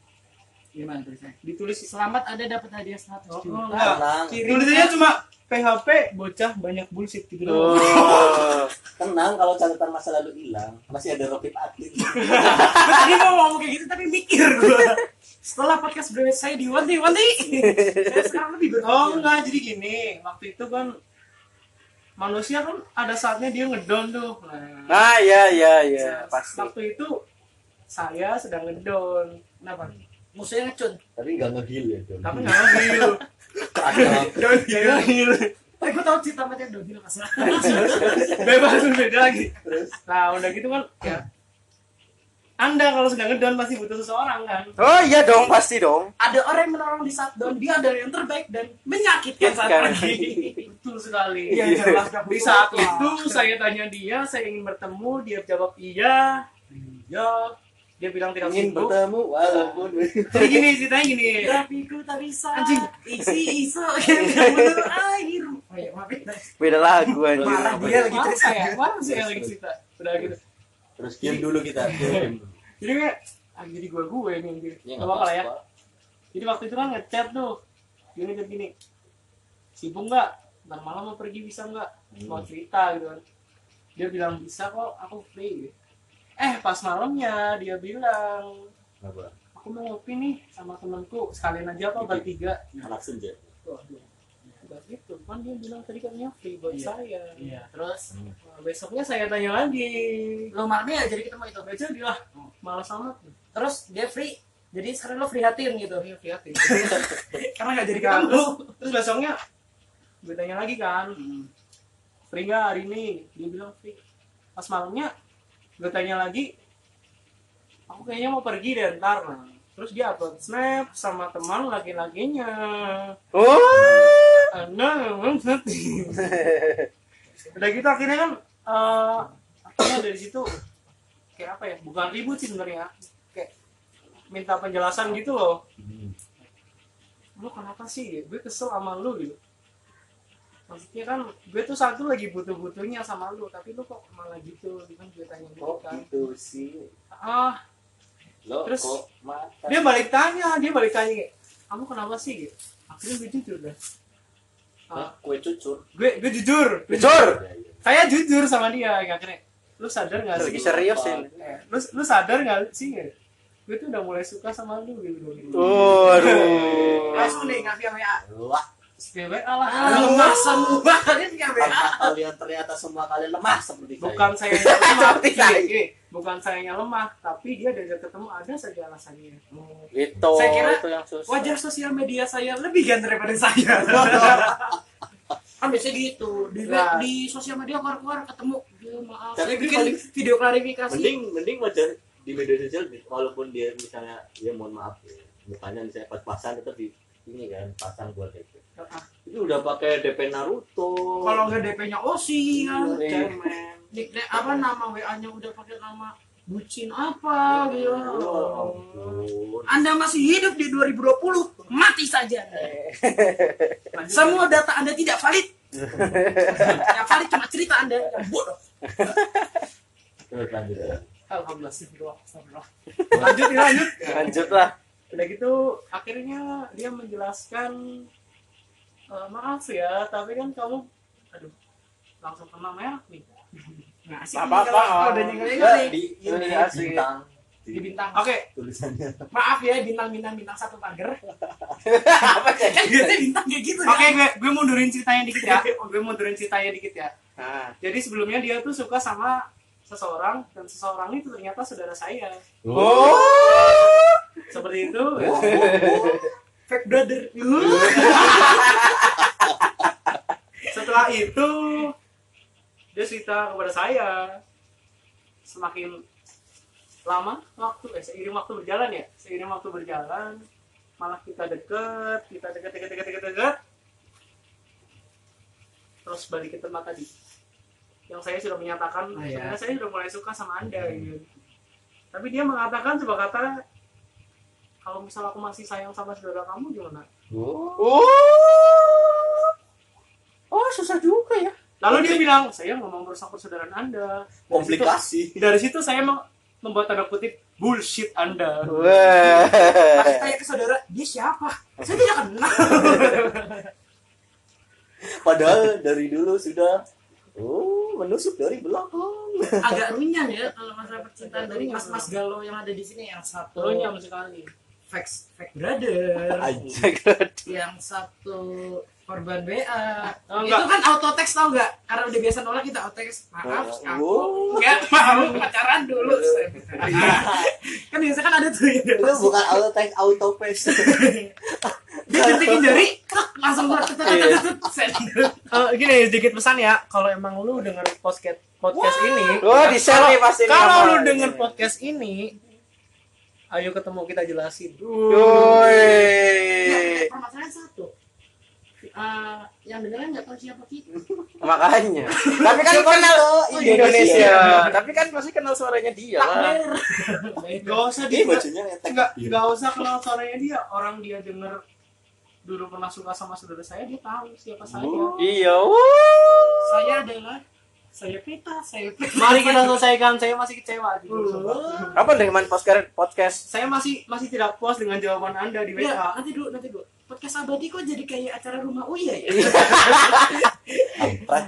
S3: gimana tulisannya ditulis selamat ada dapat hadiah 100
S4: Oh,
S3: juta
S4: enggak.
S1: Tenang.
S4: Tulisannya cuma PHP bocah banyak bullshit gitu. doang.
S2: Oh.
S1: Tenang kalau catatan masa lalu hilang. Masih ada Robin Atlet.
S3: Gua tadi mau ngomong kayak gitu tapi mikir gua setelah podcast berwet saya diwanti-wanti saya sekarang lebih berpikir
S4: Oh enggak, jadi gini, waktu itu kan manusia kan ada saatnya dia ngedown tuh. Nah,
S2: Nah iya iya iya pasti.
S4: waktu itu saya sedang ngedown. Kenapa?
S3: musuhnya ngecun
S1: Tapi nggak ngehil ya. Jon.
S4: Tapi nggak lagi.
S1: Kacau.
S4: Down heal.
S3: eh gua tau cerita mati udah bilang kasar
S4: Bebas beda lagi.
S1: Terus
S4: Nah, udah gitu kan ya. Anda kalau sedang ngedown pasti butuh seseorang kan.
S2: Oh iya dong pasti dong.
S3: ada orang yang menolong di saat down dia adalah yang terbaik dan menyakitkan saat
S2: Menyakitkan.
S3: pergi
S4: Betul sekali.
S3: Iya, jelas.
S4: Di saat itu saya tanya dia, saya ingin bertemu, dia jawab iya. Iya. Dia bilang tidak
S1: ingin
S4: sibuk.
S1: bertemu walaupun
S4: Jadi gini, ceritanya gini.
S3: tapi ku tak bisa
S4: Anjing.
S3: isi iso bener air oh ya maaf ya
S2: Beda lagu anjir.
S3: Marah dia lagi
S4: Marah
S3: cerita.
S4: ya? Marah sih yang lagi cerita. Udah gitu.
S1: terus diam dulu kita.
S4: Iya.
S1: Diam dulu.
S4: Jadi kayak, ah, jadi gue gue nih. anjir.
S1: Ya,
S4: Gak
S1: nggak
S4: apa-apa lah ya.
S1: apa-apa.
S4: Jadi waktu itu kan ngechat tuh. Dia ngechat gini. Sibuk nggak? Ntar malam mau pergi bisa nggak?
S3: Hmm.
S4: Mau cerita gitu kan. Dia bilang bisa kok, aku free. gitu. Eh pas malamnya dia bilang,
S1: Nggak apa-apa.
S4: aku mau ngopi nih sama temanku sekalian
S3: Gitu.
S4: aja apa bertiga.
S1: Anak senja.
S4: Waduh. Gak gitu, kan dia bilang tadi katanya free buat
S3: Iya.
S4: saya.
S3: iya terus
S4: Nah, besoknya saya tanya lagi.
S3: lo malamnya jadi ketemu itu Oh.
S4: Gak jadi lah, malas amat.
S3: terus dia free jadi sekarang lo free hatiin gitu
S4: Iya, prihatin.
S3: karena nggak jadi
S4: Nah,
S3: ketemu
S4: terus, terus besoknya gue tanya lagi kan,
S3: Hmm.
S4: free nggak hari ini? Dia bilang free. Pas malamnya gue tanya lagi, aku kayaknya mau pergi deh ntar. Nah, terus dia upload snap sama teman laki-lakinya.
S2: Oh.
S4: Nah, udah gitu akhirnya kan eh, akhirnya dari situ kayak apa ya bukan ribut sih sebenarnya kayak minta penjelasan gitu loh lu kenapa sih gue kesel sama lu gitu maksudnya kan gue tuh satu lagi butuh butuhnya sama lu tapi lu kok malah gitu kan gue tanya gitu
S1: Kok
S4: kan
S1: gitu sih?
S4: ah
S1: Lo
S4: Terus-
S1: kok mata?
S4: dia balik tanya dia balik tanya kayak, kamu kenapa sih gitu akhirnya gue jujur dah Ah,
S1: Hah, kue cucur.
S4: gue gue jujur
S2: Jujur.
S1: Ya, ya.
S4: saya jujur sama dia akhirnya lu sadar nggak
S2: Lagi
S4: sih
S2: serius ini.
S4: Eh, lu lu sadar nggak sih gue tuh udah mulai suka sama lu gitu
S5: Oh.
S2: Waduh.
S4: langsung deh ngasih WA
S1: Wah,
S4: Ngasih WA lah
S3: lemah semua kan nggak
S1: tanpa
S3: WA
S1: kalian ternyata semua kalian lemah seperti saya.
S4: bukan saya yang lemah
S2: Seperti
S4: Gini,
S2: saya.
S4: gini. bukan sayanya lemah tapi dia diajak ketemu ada saja alasannya
S3: Hmm.
S2: Itu,
S4: Saya kira
S2: Gitu. itu yang susah.
S4: wajah sosial media saya lebih ganteng daripada saya
S3: kan biasanya gitu di,
S4: Nah.
S3: di sosial media keluar-keluar ketemu dia maaf
S5: Tapi
S3: saya bikin
S5: paling-
S3: video klarifikasi
S5: mending mending wajar di media sosial walaupun dia misalnya ya mohon maaf ya, mukanya misalnya pas-pasan tetap di ini kan pasang buat DP
S4: Ah,
S5: itu udah pakai DP Naruto
S4: kalau nggak DP-nya
S3: oh,
S4: Osi kan
S5: Iya.
S4: cemen
S3: nickname apa nama WA-nya udah pakai nama bucin
S5: Iya.
S3: apa gitu
S1: Iya.
S5: Oh, ampun.
S3: Anda masih hidup di 2020 mati saja semua data Anda tidak valid yang valid cuma cerita Anda yang bodoh
S5: terus lanjut
S4: alhamdulillah sih doa astagfirullah. lanjut ya, lanjut
S2: Lanjutlah.
S4: udah gitu akhirnya dia menjelaskan "Eh, maaf ya tapi kan kamu aduh langsung kena merah nih
S3: nah asik
S2: Nggak apa-apa.
S3: nih kalau udah nyengir
S2: Nggak,
S3: nih
S2: di ini
S5: Ini
S2: asik.
S5: bintang
S3: di bintang
S4: oke
S5: tulisannya
S4: maaf ya bintang bintang bintang satu pagar
S2: Oh. Apa sih?
S3: kan biasanya bintang kayak gitu
S4: oke
S3: kan?
S4: gue gue mundurin ceritanya dikit ya gue mundurin ceritanya dikit ya
S2: Nah,
S4: jadi sebelumnya dia tuh suka sama seseorang dan seseorang itu ternyata saudara saya
S2: Oh.
S4: seperti itu
S3: fake brother
S4: setelah itu dia cerita kepada saya semakin lama waktu eh seiring waktu berjalan ya seiring waktu berjalan malah kita deket kita deket deket deket deket deket terus balik ke tempat tadi yang saya sudah menyatakan
S3: Ah, ya.
S4: sebenarnya saya sudah mulai suka sama anda gitu. tapi dia mengatakan sebuah kata kalau misal aku masih sayang sama saudara kamu gimana
S2: Oh. Oh, susah juga ya.
S4: Lalu dia bilang, saya mau merusak persaudaraan Anda. Dari
S5: komplikasi
S4: situ- dari situ saya mem- membuat tanda kutip bullshit Anda.
S3: Masih
S2: Wah.
S3: tanya Eh, ke saudara dia siapa saya tidak kenal
S5: padahal dari dulu sudah oh menusuk dari belakang
S3: agak runyam ya kalau masalah percintaan dari mas-mas galau yang ada di sini yang satu
S4: Runyam sekali.
S3: fake fake brother
S5: Anjing.
S3: yang satu korban BA
S4: Oh,
S3: itu
S4: enggak.
S3: kan auto text tau nggak karena udah biasa nolak kita auto text maaf
S5: Oh.
S1: Iya.
S3: aku nggak mau pacaran dulu kan biasa kan ada tuh ya
S1: Itu bukan auto text auto paste.
S3: dia jentikin jari tek, langsung keluar tut, tut, tut, tut, tut, send.
S4: Eh, gini sedikit pesan ya, kalau emang lu dengar podcast podcast ini,
S2: Wah, di-share nih pasti nih
S4: Kalau
S2: sama
S4: lu
S2: ini.
S4: denger podcast ini, ayo ketemu kita jelasin.
S2: Yoi.
S3: Nah, permasalahan satu Eh, yang dengerin nggak tahu siapa kita
S2: Makanya. Tapi kan kenal
S1: itu?
S2: Indonesia. Tapi kan pasti kenal suaranya dia lah.
S3: Takbir.
S4: Gak
S2: Iya,
S4: usah
S5: ini
S4: di
S5: bajunya ngetek
S4: nggak nggak usah kenal suaranya dia orang dia denger dulu pernah suka sama saudara saya dia tahu siapa saya
S2: Iya. wuh.
S3: saya adalah saya pita saya pita
S4: mari kita selesaikan saya masih kecewa
S3: Oh.
S2: Apa dengan podcast podcast?
S4: saya masih masih tidak puas dengan jawaban anda di WA
S3: Ya, nanti dulu, nanti dulu. Podcast abadi kok jadi kayak acara rumah Uya ya?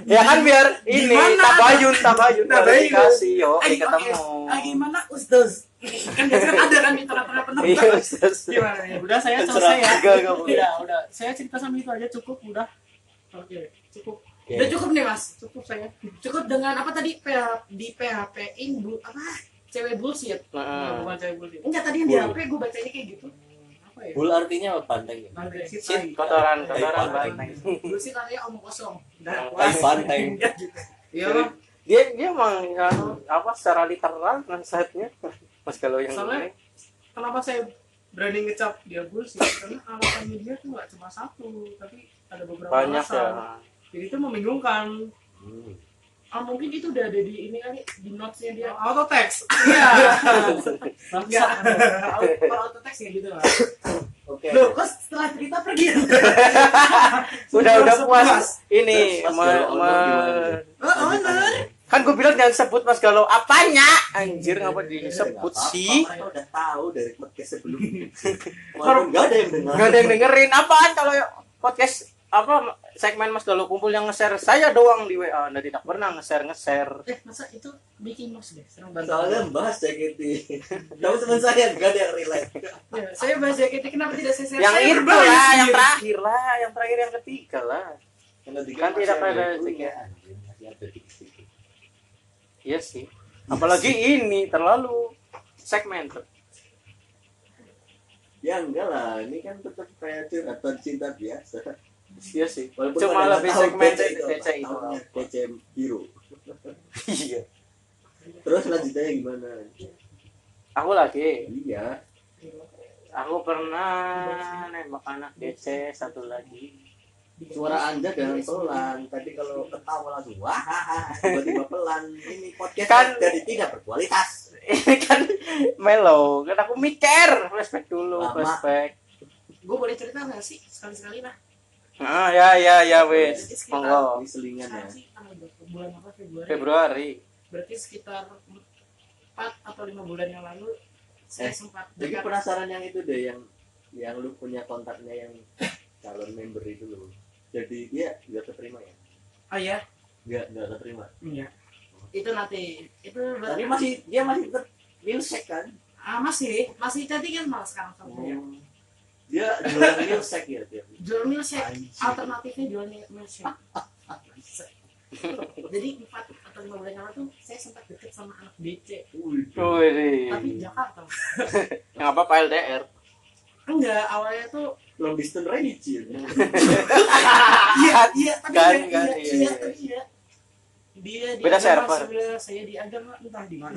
S2: Ya kan biar ini
S3: Gimana?
S2: tabayun tabayun
S4: Tabayun.
S2: klarifikasi yo
S3: Eh,
S2: ketemu.
S3: oke. Ah, gimana Ustaz? kan biasanya kan ada kan di tengah-tengah
S2: Iya,
S3: penonton.
S2: Ustaz.
S4: gimana ya udah saya selesai ya
S2: Enggak, enggak, enggak.
S4: udah udah saya cerita sama itu aja cukup udah
S3: Oke,
S4: cukup
S1: Iya.
S3: udah cukup nih mas.
S4: cukup saya
S3: Cukup dengan apa tadi PH, di PHP in bu apa cewek bullshit.
S2: Heeh.
S4: bukan saya bullshit
S3: Enggak tadi yang di HP gue bacanya kayak gitu.
S4: apa ya
S1: Bull artinya apa banteng? ya?
S3: Bullshit
S4: Bullshit,
S2: Shit,
S4: tai. Iya,
S2: kotoran, kotoran
S1: Tai
S2: baik.
S3: Bullshit artinya omong kosong. Nah,
S2: Hmm.
S1: Tai Eh, banteng.
S4: iya lah
S2: Dia dia emang anu, apa secara literal nasihatnya. Mas kalau yang ini.
S4: Soalnya- kenapa saya berani ngecap dia bullshit karena alasannya dia tuh nggak cuma satu tapi ada beberapa
S2: banyak ya.
S4: alasan jadi itu membingungkan
S5: Hmm.
S3: ah, mungkin itu udah ada di ini kali di notesnya dia.
S4: auto text
S3: Iya.
S4: enggak
S3: Kalau auto text ya gitu lah.
S1: Oke.
S3: Loh, kok setelah cerita pergi?
S2: Udah udah puas
S3: Puas.
S2: ini me-
S5: Mas, Mas, Mas, Mas,
S2: me-
S1: gitu?
S5: gimana?
S3: Oh, honor.
S2: kan gue bilang jangan sebut Mas Galau apanya anjir ngapa disebut sih
S1: Orang udah tahu dari podcast sebelumnya.
S5: Walaupun nggak ada yang dengar
S2: nggak ada yang dengerin apaan kalau podcast apa segmen Mas Dalo kumpul yang nge-share saya doang di WA Anda tidak pernah nge-share nge-share
S3: Eh, masa itu Mickey Mouse deh, serem banget.
S1: Soalnya bahas JKT. Kamu teman saya, gak ada yang relate.
S3: Ya, saya bahas JKT, kenapa tidak saya share?
S2: yang
S3: Saya
S2: itu
S3: berbahas,
S2: lah yang
S3: anjir.
S2: terakhir lah yang terakhir yang ketiga lah
S1: Karena di
S2: Kan tidak ada rezeki. iya sih apalagi
S1: Iya
S2: ini terlalu segmented
S1: Ya enggak lah, ini kan tetap kreatif atau cinta biasa.
S2: iya sih
S1: Walaupun
S2: cuma
S1: pada nggak
S2: lebih
S1: tahu
S2: segmented
S1: apa,
S2: DC itu
S1: tahunya DC biru.
S2: iya
S1: Terus lanjutannya gimana?
S2: aku lagi
S1: Iya.
S2: aku pernah nembak anak DC satu lagi
S1: Suara anda jangan pelan. Tadi kalau ketawa langsung wah, tiba-tiba pelan. Ini podcast
S2: Kan-
S1: jadi tidak berkualitas.
S2: ini kan melo kan aku mikir flashback dulu
S1: Lama.
S2: flashback
S3: Gue boleh cerita nggak sih? Sekali-sekali lah.
S2: ah ya ya ya wes monggo
S1: Ini selingan ya.
S3: Sekarang sih,
S4: ah,
S3: tanggal berapa? bulan apa? Februari.
S2: Februari
S3: Berarti sekitar 4 atau 5 bulan yang lalu, saya
S1: Eh,
S3: sempat
S1: Jadi
S3: dekat.
S1: penasaran yang itu deh yang yang lu punya kontaknya yang calon member itu loh. Jadi dia nggak keterima ya?
S3: Oh iya?
S1: Nggak nggak keterima.
S3: Iya. Itu nanti. Itu
S1: Tapi masih dia masih tetap milsek kan?
S3: Ah, masih, masih cantik kan malah sekarang sama
S1: Iya.
S3: dia.
S1: Dia jualan milsek ya dia.
S3: Jual milkshake.
S1: Anjing.
S3: Alternatifnya jual milkshake. Jadi 4 atau 5 bulan yang lalu tuh, saya sempat deket sama anak DC.
S1: Wih,
S2: Wih,
S3: Tapi Jakarta.
S2: nggak apa-apa LDR
S3: Enggak, awalnya tuh
S1: long distance religi. ya.
S2: Iya,
S3: iya, tapi
S2: kan,
S3: iya,
S2: kan, iya,
S3: iya, iya,
S2: iya.
S3: tapi iya. Dia di
S2: Beda
S3: agama
S2: server.
S3: sebelah, saya di agama entah di mana.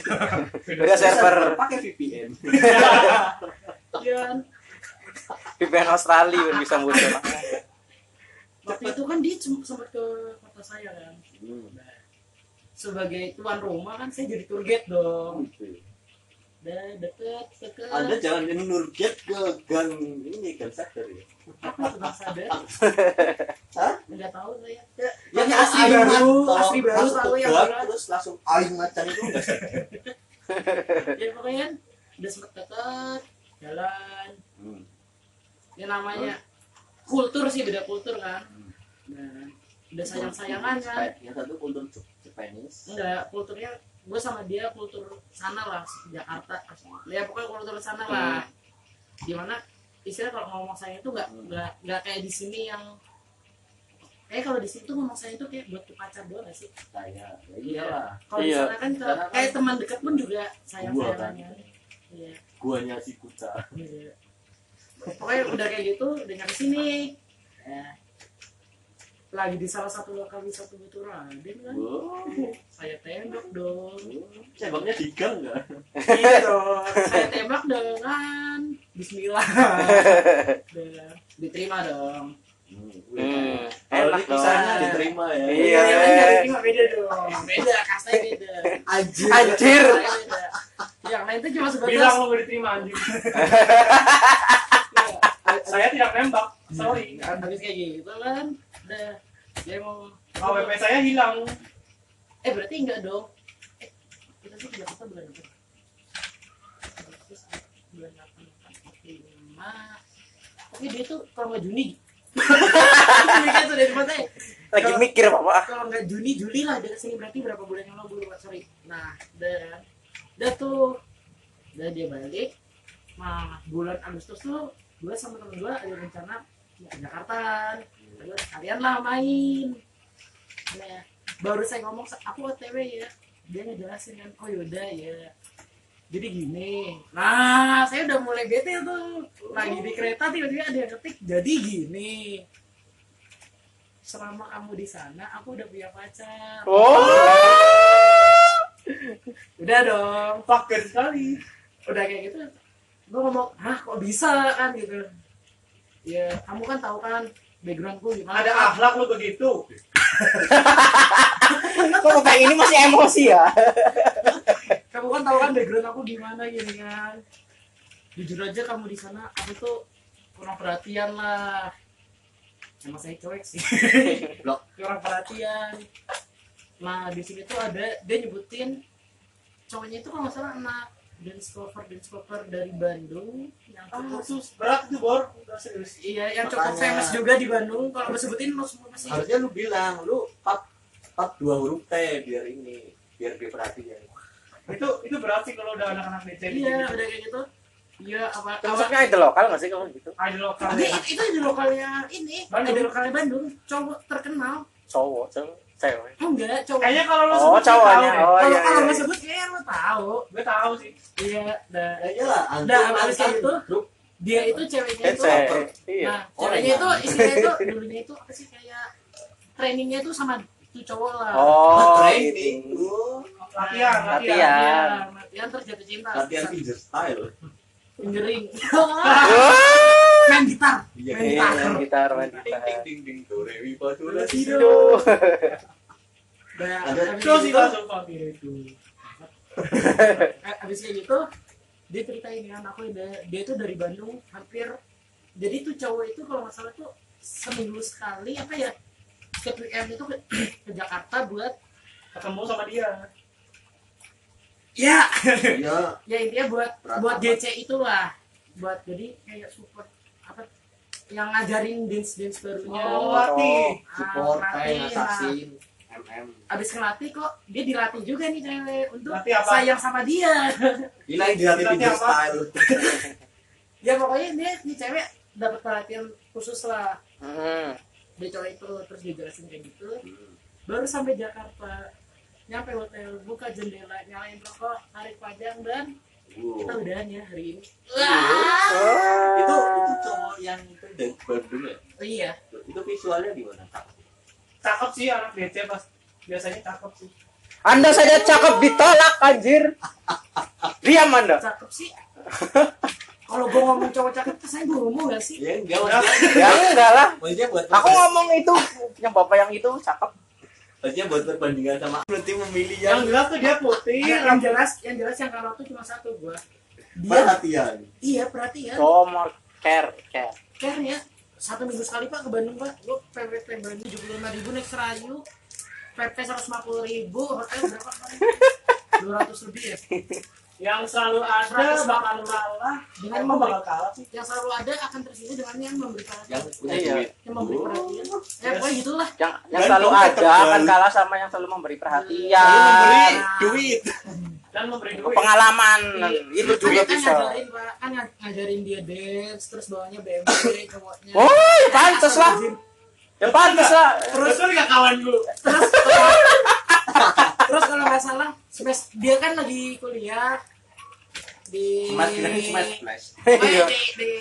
S2: beda server
S1: pakai VPN.
S3: Dan
S2: VPN Australia biar bisa muncul
S3: waktu itu kan dia cem- sempat ke kota saya kan.
S1: Hmm,
S3: Sebagai tuan rumah kan saya jadi tour guide dong.
S1: gitu.
S3: Dan deket, deket.
S1: Anda jangan nurget ke gang ini gang sadar ya.
S3: apa itu bang sadar?
S1: Hah?
S3: Nggak tahu saya.
S1: Yang
S3: Yang
S1: Iya, asli
S3: Aing
S1: baru,
S3: Mat-
S1: asli
S3: Asri
S1: baru
S3: baru
S1: lalu
S3: tahu yang berat.
S1: terus langsung aing macan itu enggak sih?
S3: Ya pokoknya kan udah sempet deket, jalan.
S1: Hmm.
S3: Ya namanya kultur sih beda kultur kan. Nah, udah sayang-sayangan kan.
S1: Yang satu kultur Japanese.
S3: Enggak, kulturnya gue sama dia kultur sana lah Jakarta ya pokoknya kultur sana lah dimana istilah kalau ngomong saya itu nggak
S1: Hmm.
S3: nggak nggak kayak di sini yang kayak kalau di sini tuh ngomong saya itu kayak buat ke pacar doang nggak sih
S1: Saya. Ya iyalah.
S3: kalau
S2: Iya.
S3: di sana kan kalau
S1: Karena kan-
S3: kayak teman dekat pun juga sayang
S1: Gua kan.
S3: sayangannya iya
S1: Guanya si Kuta.
S3: iya. pokoknya udah kayak gitu udah nyampe sini Eh, lagi di salah satu lokal wisata Batu Raden kan
S1: Wow.
S3: saya tembak dong
S1: Tembaknya di gang enggak?
S3: Iya dong, saya tembak dengan Bismillah. Udah, Diterima dong.
S2: hmm,
S1: Kalau
S2: enak
S1: ini
S2: dong
S1: kisahnya diterima ya.
S2: Iya.
S3: Yang lain nggak diterima beda dong. Beda, kastanya beda.
S1: Anjir.
S2: anjir
S3: Kastanya beda. Yang lain tuh cuma
S4: bilang
S3: sebatas.
S4: lo gak diterima anjing saya tidak nembak sorry
S3: Habis kayak gitu kan, udah dia mau.
S4: AWP saya hilang
S3: Eh berarti enggak dong? Eh, kita sih ke Jakarta bulan apa? Agustus, bulan delapan, oke lima. Tapi dia tuh kalau nggak Juni. Mikirnya tuh dari mata
S2: lagi mikir bapak
S3: kalau nggak Juni Juli lah dari sini berarti berapa bulan yang lalu lupa sorry nah dan dan tuh dan dia balik nah bulan Agustus tuh gue sama temen gue ada rencana ya, ke Jakarta terus kalian lah main nah baru saya ngomong aku OTW ya dia ngejelasin kan oh yaudah ya jadi gini nah saya udah mulai bete tuh lagi di kereta tiba-tiba ada yang ketik jadi gini selama kamu di sana aku udah punya pacar
S2: oh
S3: udah dong
S4: fucker sekali
S3: udah kayak gitu gue ngomong hah kok bisa kan gitu ya kamu kan tahu kan backgroundku gimana
S4: ada akhlak lo begitu
S3: Oh,
S2: kok bapak ini masih emosi ya
S3: kamu kan tahu kan background aku gimana gini kan jujur aja kamu di sana aku tuh kurang perhatian lah emang saya cuek sih
S1: Blok.
S3: kurang perhatian nah di sini tuh ada dia nyebutin cowoknya itu kalau nggak salah anak dance cover dance cover dari Bandung yang cukup
S4: khusus berat tuh bor Nggak serius
S3: iya yang cukup
S1: Makanya.
S3: famous juga di Bandung kalau gue sebutin lo semua pasti
S1: harusnya lu bilang lu pap pap dua huruf T biar ini biar dia perhatian
S4: itu itu berat sih kalau udah anak-anak DC
S3: iya udah kayak gitu iya apa apa
S2: Maksudnya idol lokal nggak sih kamu gitu?
S4: ada lokal
S3: Tapi itu di lokalnya ini,
S4: Bandung.
S3: ada lokalnya Bandung, cowok terkenal.
S2: Cowok, cowok, cewek.
S3: Enggak, cowok.
S4: kayaknya kalau lo
S2: Oh,
S4: sebut gue tahu
S2: cowoknya. Oh,
S4: deh
S3: kalau
S2: iya, iya.
S3: kalau gue sebut kayaknya lo tahu.
S4: gue tahu sih
S3: Iya, dah.
S1: ya iyalah
S4: Nah,
S3: Dah,
S1: antum
S3: habis
S1: mantan
S3: itu?
S1: grup
S3: Dia itu ceweknya itu.
S2: Ece. Iya.
S3: Nah, ceweknya itu istrinya itu dulunya itu apa sih kayak trainingnya itu sama itu cowok lah.
S1: Nah,
S3: Nah,
S2: Oh,
S1: training
S2: gitu.
S1: lu
S4: latihan
S2: Latihan.
S4: latihan
S3: Iya, latihan terus jatuh cinta.
S1: latihan finger style
S3: Fingering.
S2: Wah.
S3: Main gitar.
S1: iya
S3: Main
S2: Iya, main gitar, main
S1: ding ding
S2: gitar.
S1: ding ding do re mi fa do la si do
S2: Aduh.
S3: Nah,
S1: Ada
S3: habis
S4: itu sih
S3: itu-
S4: langsung pamit
S3: Eh, abis kayak gitu dia ceritain kan aku ada dia itu dari Bandung hampir jadi tuh cowok itu kalau nggak salah tuh seminggu sekali apa ya ke PM itu ke, ke Jakarta buat
S4: ketemu sama dia
S3: ya
S1: iya
S3: ya intinya buat
S1: Rapat.
S3: buat GC itulah buat jadi kayak support apa yang ngajarin dance dance barunya
S4: Oh,
S3: Ah,
S4: latih.
S1: support
S4: Ah,
S3: latih,
S1: kayak
S3: nah.
S1: ngasasin mm
S3: abis ngelatih kok dia dilatih juga nih cewek untuk
S4: Latih apa?
S3: sayang sama dia
S1: ini lagi dilatih
S4: Silatnya
S1: finger
S4: apa?
S1: style
S3: ya pokoknya dia nih cewek dapat perhatian khusus lah
S2: Hmm.
S3: dia cowok itu terus dijelasin kayak gitu
S1: Hmm,
S3: baru sampai Jakarta nyampe hotel buka jendela nyalain rokok tarik panjang dan kita
S1: Wow.
S3: udahan ya hari ini
S1: itu itu cowok yang itu dari Bandung ya
S3: oh, iya
S1: itu visualnya gimana
S4: cakep sih anak DC pas biasanya cakep sih
S2: Anda saja cakep ditolak anjir. Diam Anda.
S3: cakep sih kalau gue ngomong cowok cakep kesannya gue ngomong gak sih
S1: ya enggak maksudnya
S2: Ya enggak lah.
S1: maksudnya buat
S2: Aku ngomong itu yang bapak yang itu cakep.
S1: maksudnya buat perbandingan sama berarti memilih yang
S4: yang jelas tuh dia putih
S2: Iya.
S3: yang, yang
S4: rambut
S3: jelas yang jelas yang kalau tuh cuma satu gue dia
S1: perhatian
S3: iya perhatian
S2: Somor care care.
S3: Kayaknya ya. satu minggu sekali pak ke Bandung pak, lu PP Bandung tujuh puluh lima ribu naik serayu, PP seratus lima puluh ribu, hotel berapa kemarin? Dua ratus lebih ya.
S4: yang selalu ada
S3: Seratus
S4: bakal kalah dengan
S3: Emang
S4: bakal kalah sih
S3: Yang selalu ada akan terisi dengan yang memberi perhatian.
S1: yang punya
S2: Iya.
S1: duit
S3: Yang memberi perhatian. Ya pokoknya gitulah.
S2: Yang yang
S1: Dan
S2: selalu
S1: kamu
S2: ada
S1: cakep,
S2: akan
S1: Bang.
S2: kalah sama yang selalu memberi
S1: Lalu memberi
S2: perhatian.
S1: duit
S4: dan memberi duit
S2: Pengalaman itu
S3: Kan,
S2: juga
S3: kan
S2: bisa.
S3: ngajarin pak, kan ngaj- ngajarin dia dance, terus bawahnya BMW cowoknya.
S2: Oh, ya pantas lah. Ya pantas lah.
S4: terus kan gak kawan lu
S3: Terus kalau- terus kalau nggak salah, semest- dia kan lagi kuliah di
S1: smash ini smash flash
S3: Pokoknya
S2: Iya.
S3: di, di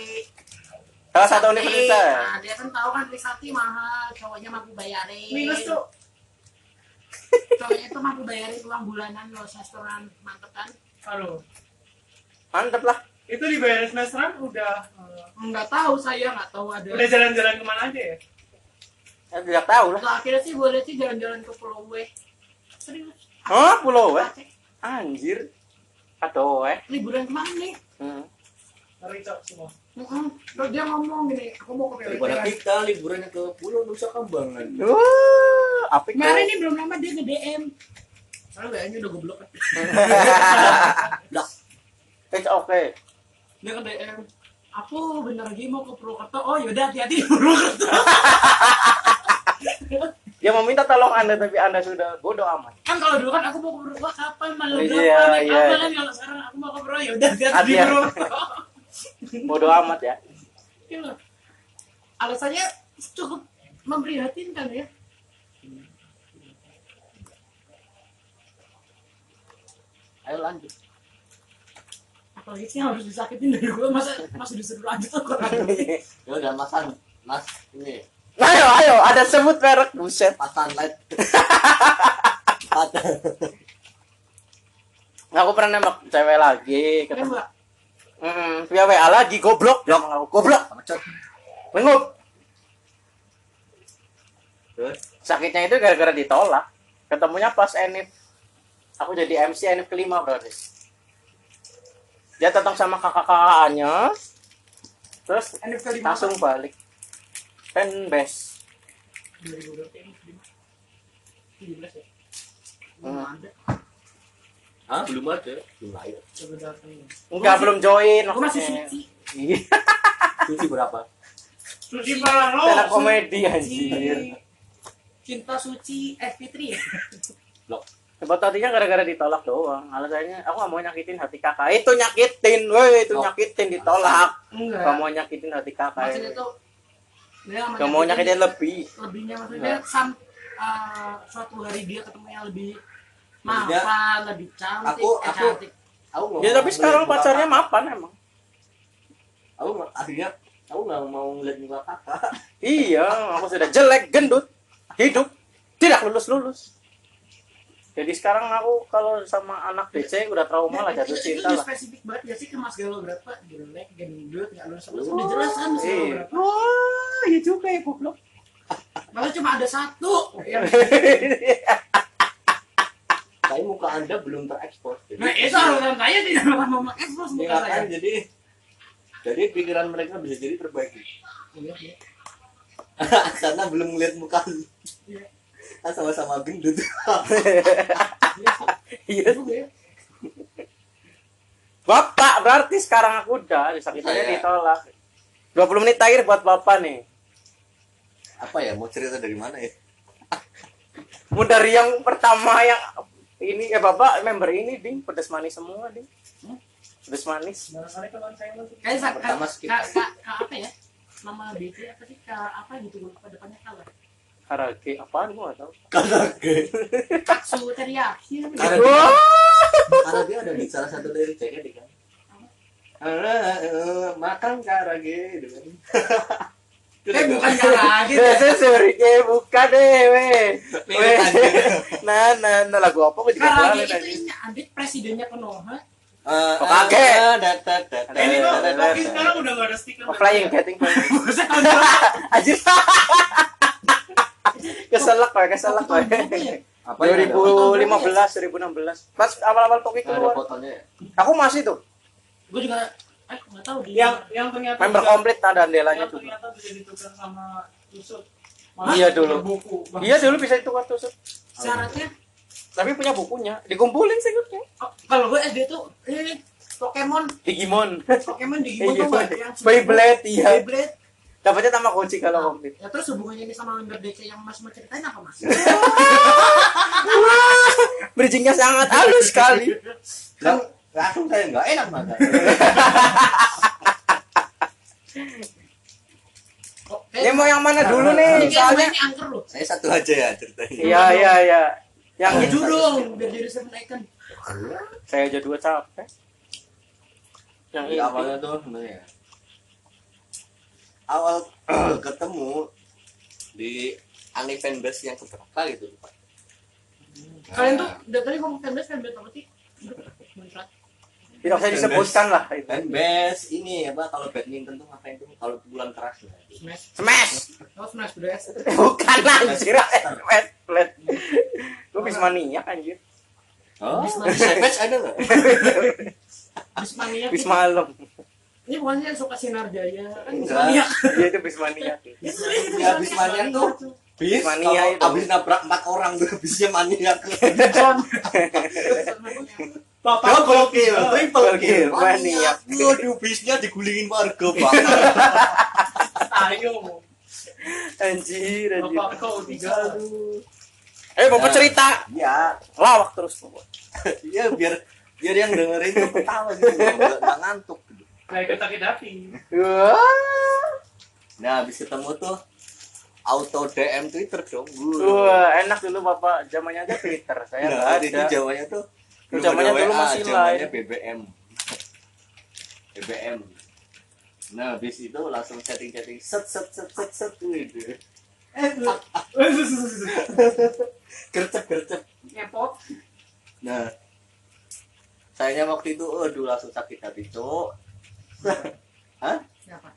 S2: Salah satu
S3: Nah,
S2: universitas.
S3: dia kan tahu kan Trisakti mahal, cowoknya mampu bayarin.
S4: minus tuh
S3: Cowoknya itu mampu bayarin uang bulanan lo restoran mantep kan?
S4: aduh
S2: Mantep lah.
S4: itu di beres semesteran udah eh,
S3: Enggak tahu saya, enggak tahu ada.
S4: udah jalan-jalan kemana aja ya
S2: Ya tidak tahu lah.
S3: Nah, akhirnya sih gue liat sih jalan-jalan ke Pulau W. Serius.
S2: Hah, pulau eh.
S3: Aceh.
S2: Anjir. Aduh eh.
S3: Liburan kemana nih?
S2: Hmm.
S4: ngeri cok semua
S3: Heeh. Terus dia ngomong gini, aku mau ke PWT.
S1: daripada kita liburannya ke pulau Nusa Kambangan
S2: Wah, apik eh.
S3: Kemarin
S2: tuh.
S3: nih belum lama dia nge-DM. Soalnya WA-nya udah goblok kan.
S2: It's okay.
S3: Dia nge-DM. Aku bentar lagi mau ke Purwokerto. Oh yaudah hati-hati di Purwokerto.
S2: Dia meminta Ya, tolong Anda tapi Anda sudah bodoh amat.
S3: kan kalau dulu kan aku mau ke Bro, wah kapan malam
S2: Iya,
S3: berapa yeah, naik
S2: iya.
S3: apa kan kalau sekarang aku mau ke Bro ya udah biar di
S2: Hati-hati.
S3: Bro.
S2: Bodoh amat ya.
S3: Gitu loh. Alasannya cukup memprihatinkan ya.
S1: ayo lanjut
S3: Apalagi sih yang harus disakitin dari gue masa masih disuruh lanjut aku
S1: ya udah masan mas ini
S2: ayo, ayo, ada sebut merek buset.
S1: masan light Matan.
S2: Nggak, aku pernah nembak cewek lagi.
S3: Ya
S2: Ketemu.
S3: mbak,
S2: Mm, via WA lagi goblok. Ya, nggak, goblok.
S1: Macet.
S2: Bengok.
S1: terus
S2: Sakitnya itu gara-gara ditolak. Ketemunya pas Enif. Aku jadi MC Enif kelima berarti. Dia tetap sama kakak-kakaknya. Terus
S3: NF kelima
S2: langsung balik. Kan best.
S3: 2000 berapa ini? 17 ya?
S2: Hmm.
S3: Belum ada.
S1: Hah? Belum ada.
S5: belum lahir
S3: coba datang
S2: Enggak, belum join.
S3: gue masih
S2: maksudnya.
S3: suci
S2: Iya,
S1: Suci berapa?
S4: Suci parah lo.
S2: stand up komedi
S3: Suci.
S2: anjir.
S3: cinta suci eh Fitri ya
S2: Sebab tadinya gara-gara ditolak doang. Alasannya aku gak mau nyakitin hati kakak. Itu nyakitin, woi, itu
S1: Oh.
S2: nyakitin ditolak.
S4: Enggak.
S2: Gak mau nyakitin hati kakak.
S3: maksudnya tuh dia nggak
S2: Gak mau nyakitin lebih.
S3: lebihnya maksudnya sam eh, suatu hari dia ketemu yang lebih
S1: Maksudnya,
S3: mapan lebih cantik
S1: aku-
S3: eh,
S1: aku-
S3: cantik
S1: Aku nggak
S2: Ya
S1: mau
S2: tapi sekarang
S1: ngeliat muka
S2: pacarnya
S1: kakak.
S2: mapan emang.
S1: Aku nggak- akhirnya aku nggak mau ngeliat muka kakak.
S2: Iya, aku sudah jelek, gendut, hidup, tidak lulus-lulus. Jadi sekarang aku kalau sama anak DC udah trauma lah
S3: Dan
S2: jatuh
S3: itu- itu
S2: cinta
S3: udah
S2: lah.
S3: spesifik banget ya sih ke mas galau berapa jelek gendut nggak lulus lulus udah jelas kan mas galau
S2: Iya.
S3: berapa
S2: Wah, iya juga ya goblok.
S3: malah cuma ada satu Iya. yang
S1: Tapi muka anda belum terekspos. Jadi,
S3: Nah, itu alasan saya tidak pernah mau mengekspos
S1: Iya,
S3: muka saya.
S1: kan? jadi jadi pikiran mereka bisa jadi terbaik.
S3: Iya, iya.
S1: Karena belum ngeliat muka. lu.
S3: Iya.
S1: Kan sama-sama gendut.
S2: Iya.
S3: Iya juga ya.
S2: Bapak berarti sekarang aku udah disakitannya
S1: Iya.
S2: ditolak. 20 menit terakhir buat Bapak nih.
S1: Apa ya? Mau cerita dari mana ya?
S2: Mau dari yang pertama yang ini eh Bapak member ini ding pedas manis semua ding. Pedas manis.
S3: Kayak sa-
S1: Pertama
S3: ka-
S1: skip.
S3: ka- ka- ka- apa ya? Nama BT apa sih? Ka, apa gitu apa depannya kalah.
S2: Karaoke apaan gua gak tahu.
S1: Karaoke.
S3: Katsu teriyaki.
S1: Karena
S3: Apa?
S1: dia,
S2: Wah.
S1: karena dia ada di salah satu dari CKD kan. makan karage gitu kan. Itu
S3: Eh
S1: juga-
S3: bukan kalah gitu.
S2: Biasanya sorry eh buka deh weh. Weh.
S1: Mirip aja.
S2: Nah, nah, nah lagu apa gua juga
S3: Karena
S2: kenalin
S3: itu
S2: tadi.
S3: ini adik presidennya Konoha.
S1: Eh,
S2: Kok kaget?
S1: eh, dat, dat, dat, dat,
S4: Ini kok,
S1: dat, dat,
S4: tapi
S1: dat.
S4: sekarang udah gak ada stiker. ya?
S2: Oh, flying getting flying. Anjir. keselak weh, keselak weh.
S3: Apa ya?
S1: Apa yang ada?
S2: 2015, 2016. Pas awal-awal Toki
S1: Nggak ada
S2: keluar.
S1: fotonya ya?
S2: Aku masih tuh.
S3: Gue juga eh nggak tahu dia.
S4: Yang yang ternyata
S2: Member
S4: bisa-
S2: komplit ada andelanya
S4: yang
S2: juga.
S4: ternyata bisa ditukar sama tusuk.
S2: Iya dulu.
S4: Buku. Bang.
S2: Iya dulu bisa itu kartu
S3: syaratnya
S2: Tapi punya bukunya, dikumpulin sih ya. gue.
S3: oh, kalau gue SD tuh eh Pokemon,
S2: Digimon.
S3: Pokemon Digimon tuh nggak yang
S2: Iya, Beyblade iya.
S3: Beyblade.
S2: Dapatnya Tamagotchi kalau komplit.
S3: Ya terus hubungannya ini sama member DC yang Mas mau ceritain apa Mas?
S2: Bridgingnya sangat halus sekali.
S1: Lah, langsung saya nggak enak mata.
S3: Oh,
S2: Ini
S3: eh,
S2: mau yang mana dulu nih?
S3: ini soalnya
S2: Iya, Soalnya
S3: ini angker loh.
S1: Saya satu aja ya ceritanya.
S2: Iya iya iya. Yang
S3: Yang
S2: itu
S3: jujur dong, biar jadi seven icon.
S2: saya aja dua capek. Yang
S1: Jadi
S3: Iya,
S2: ini
S1: Iya, awalnya tuh sebenarnya awal ketemu di anime fanbase yang keberapa gitu. Pak.
S3: Kalian tuh
S1: Nah,
S3: dari tadi ngomong fanbase, fanbase apa sih? Menurut.
S2: tidak usah disebutkan lah itu.
S1: fanbase ini apa kalau badminton tuh ngapain tuh kalau pukulan keras ya.
S3: Smash.
S2: Smash.
S3: Oh, smash udah ya.
S2: Bukan anjir. Smash flat. Lu bismania anjir.
S1: Oh,
S3: Bismania.
S1: smash ada nggak?
S3: Bismania.
S2: Bismalem.
S3: Ini bukannya yang suka sinar jaya. Kan
S1: Enggak.
S3: Bismania.
S2: Dia itu bismania.
S3: Ya, serius, itu
S1: Ya, Bismania tuh. Bis,
S2: Mania
S1: kalau
S2: itu.
S1: abis nabrak empat orang tuh bisnya mania.
S4: Bapak
S1: Double
S4: gua-
S1: kill, triple kill,
S2: kill, maniak.
S1: Waduh, bisnya digulingin warga bang.
S4: Ayo.
S2: Anjir anjir.
S4: Bapak kau tiga.
S2: Eh bapak cerita
S1: Ya,
S2: lawak terus.
S1: ya biar biar yang dengerin tuh ketawa gitu, nggak nggak ngantuk. gitu.
S4: Kayak kita kedapi.
S2: Wah.
S1: Nah, habis ketemu tuh auto DM Twitter dong. Wuh.
S2: Wah, enak dulu bapak zamannya aja Twitter. Saya nggak
S1: Nah, itu
S2: ada.
S1: jamannya tuh belum
S2: Jamannya
S1: ada
S2: dulu
S1: WA,
S2: masih
S1: jamannya
S2: line.
S1: BBM. BBM. Nah, habis itu langsung chatting-chatting set set set set set gitu.
S4: Eh,
S1: Gercep-gercep.
S4: Ngepot.
S1: Nah, sayangnya waktu itu, aduh langsung sakit hati, cok. Hah?
S3: Siapa?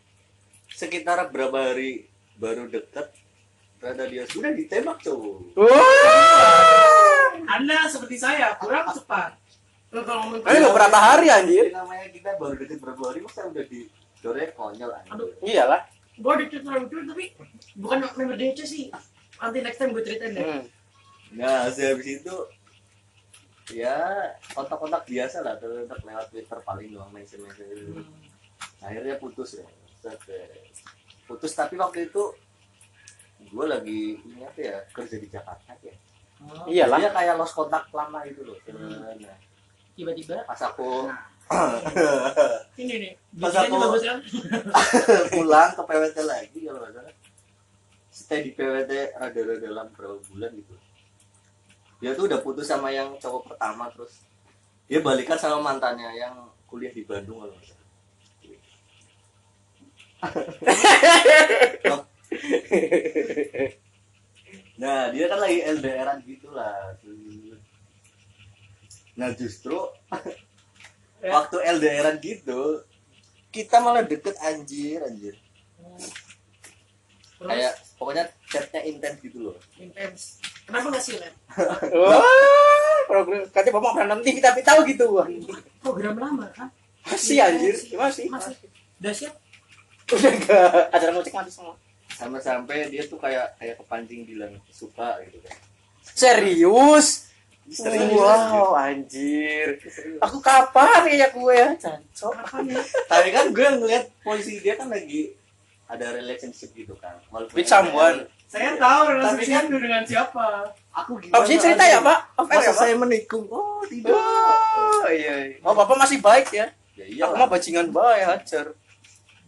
S1: Sekitar berapa hari baru deket, ternyata dia sudah ditembak, cok.
S2: Wah.
S4: Anda seperti saya, kurang cepat.
S3: Lu Kalau ngomong
S2: Ini beberapa hari
S1: Iya,
S2: anjir.
S1: Jadi namanya kita baru deket berapa hari, masa udah di dorek konyol
S3: Aduh.
S1: anjir.
S2: Iyalah.
S3: gue di Twitter lucu tapi bukan member Hmm. DC sih. Nanti next time gue ceritain deh.
S2: Hmm.
S1: Nah, habis habis itu ya kontak-kontak biasa lah terus untuk lewat Twitter paling doang mention mention gitu.
S4: Hmm.
S3: Hmm.
S1: akhirnya putus ya Set, eh, putus tapi waktu itu gue lagi ini apa ya kerja di Jakarta ya
S4: Oh,
S2: Iyalah.
S1: dia kayak lost kontak lama gitu loh Nah,
S3: tiba-tiba
S1: pas aku
S4: Ini nih.
S1: Pas
S3: biasanya
S1: aku-
S3: bagus kan
S1: pulang ke PWT lagi kalau nggak salah stay di PWT rada-rada dalam berapa bulan gitu dia tuh udah putus sama yang cowok pertama terus dia balikan sama mantannya yang kuliah di Bandung kalau nggak salah Loh. nah dia kan lagi LDRan gitulah nah justru waktu LDRan gitu kita malah deket anjir anjir
S3: terus
S1: kayak pokoknya chatnya intens gitu loh
S3: intens kenapa nggak sih lem
S2: Wah, program katanya bapak pernah nanti kita tapi tahu gitu wah.
S3: program lama kan
S2: Masih anjir, masih.
S3: masih dahsyat
S2: Udah enggak acara ngocek mati semua.
S1: sama sampai dia tuh kayak kayak kepancing bilang suka gitu kan
S2: Serius?
S1: Serius,
S2: Wow, anjir. Aku kapan ya gue ya, cancok.
S3: kapan ya
S1: tapi kan gue ngeliat posisi dia kan lagi ada relationship gitu kan walaupun
S2: With someone.
S4: Saya tahu
S1: Tapi
S4: relasi
S1: kan-
S4: itu dengan siapa.
S1: aku gimana
S2: Abis ini cerita ya, Pak? Off air ya,
S1: masa
S2: Pak?
S1: saya menikung oh tidak
S2: Oh, iya. iya. Oh, Bapak masih baik ya.
S1: ya iya
S2: Aku mah bajingan baik, hajar.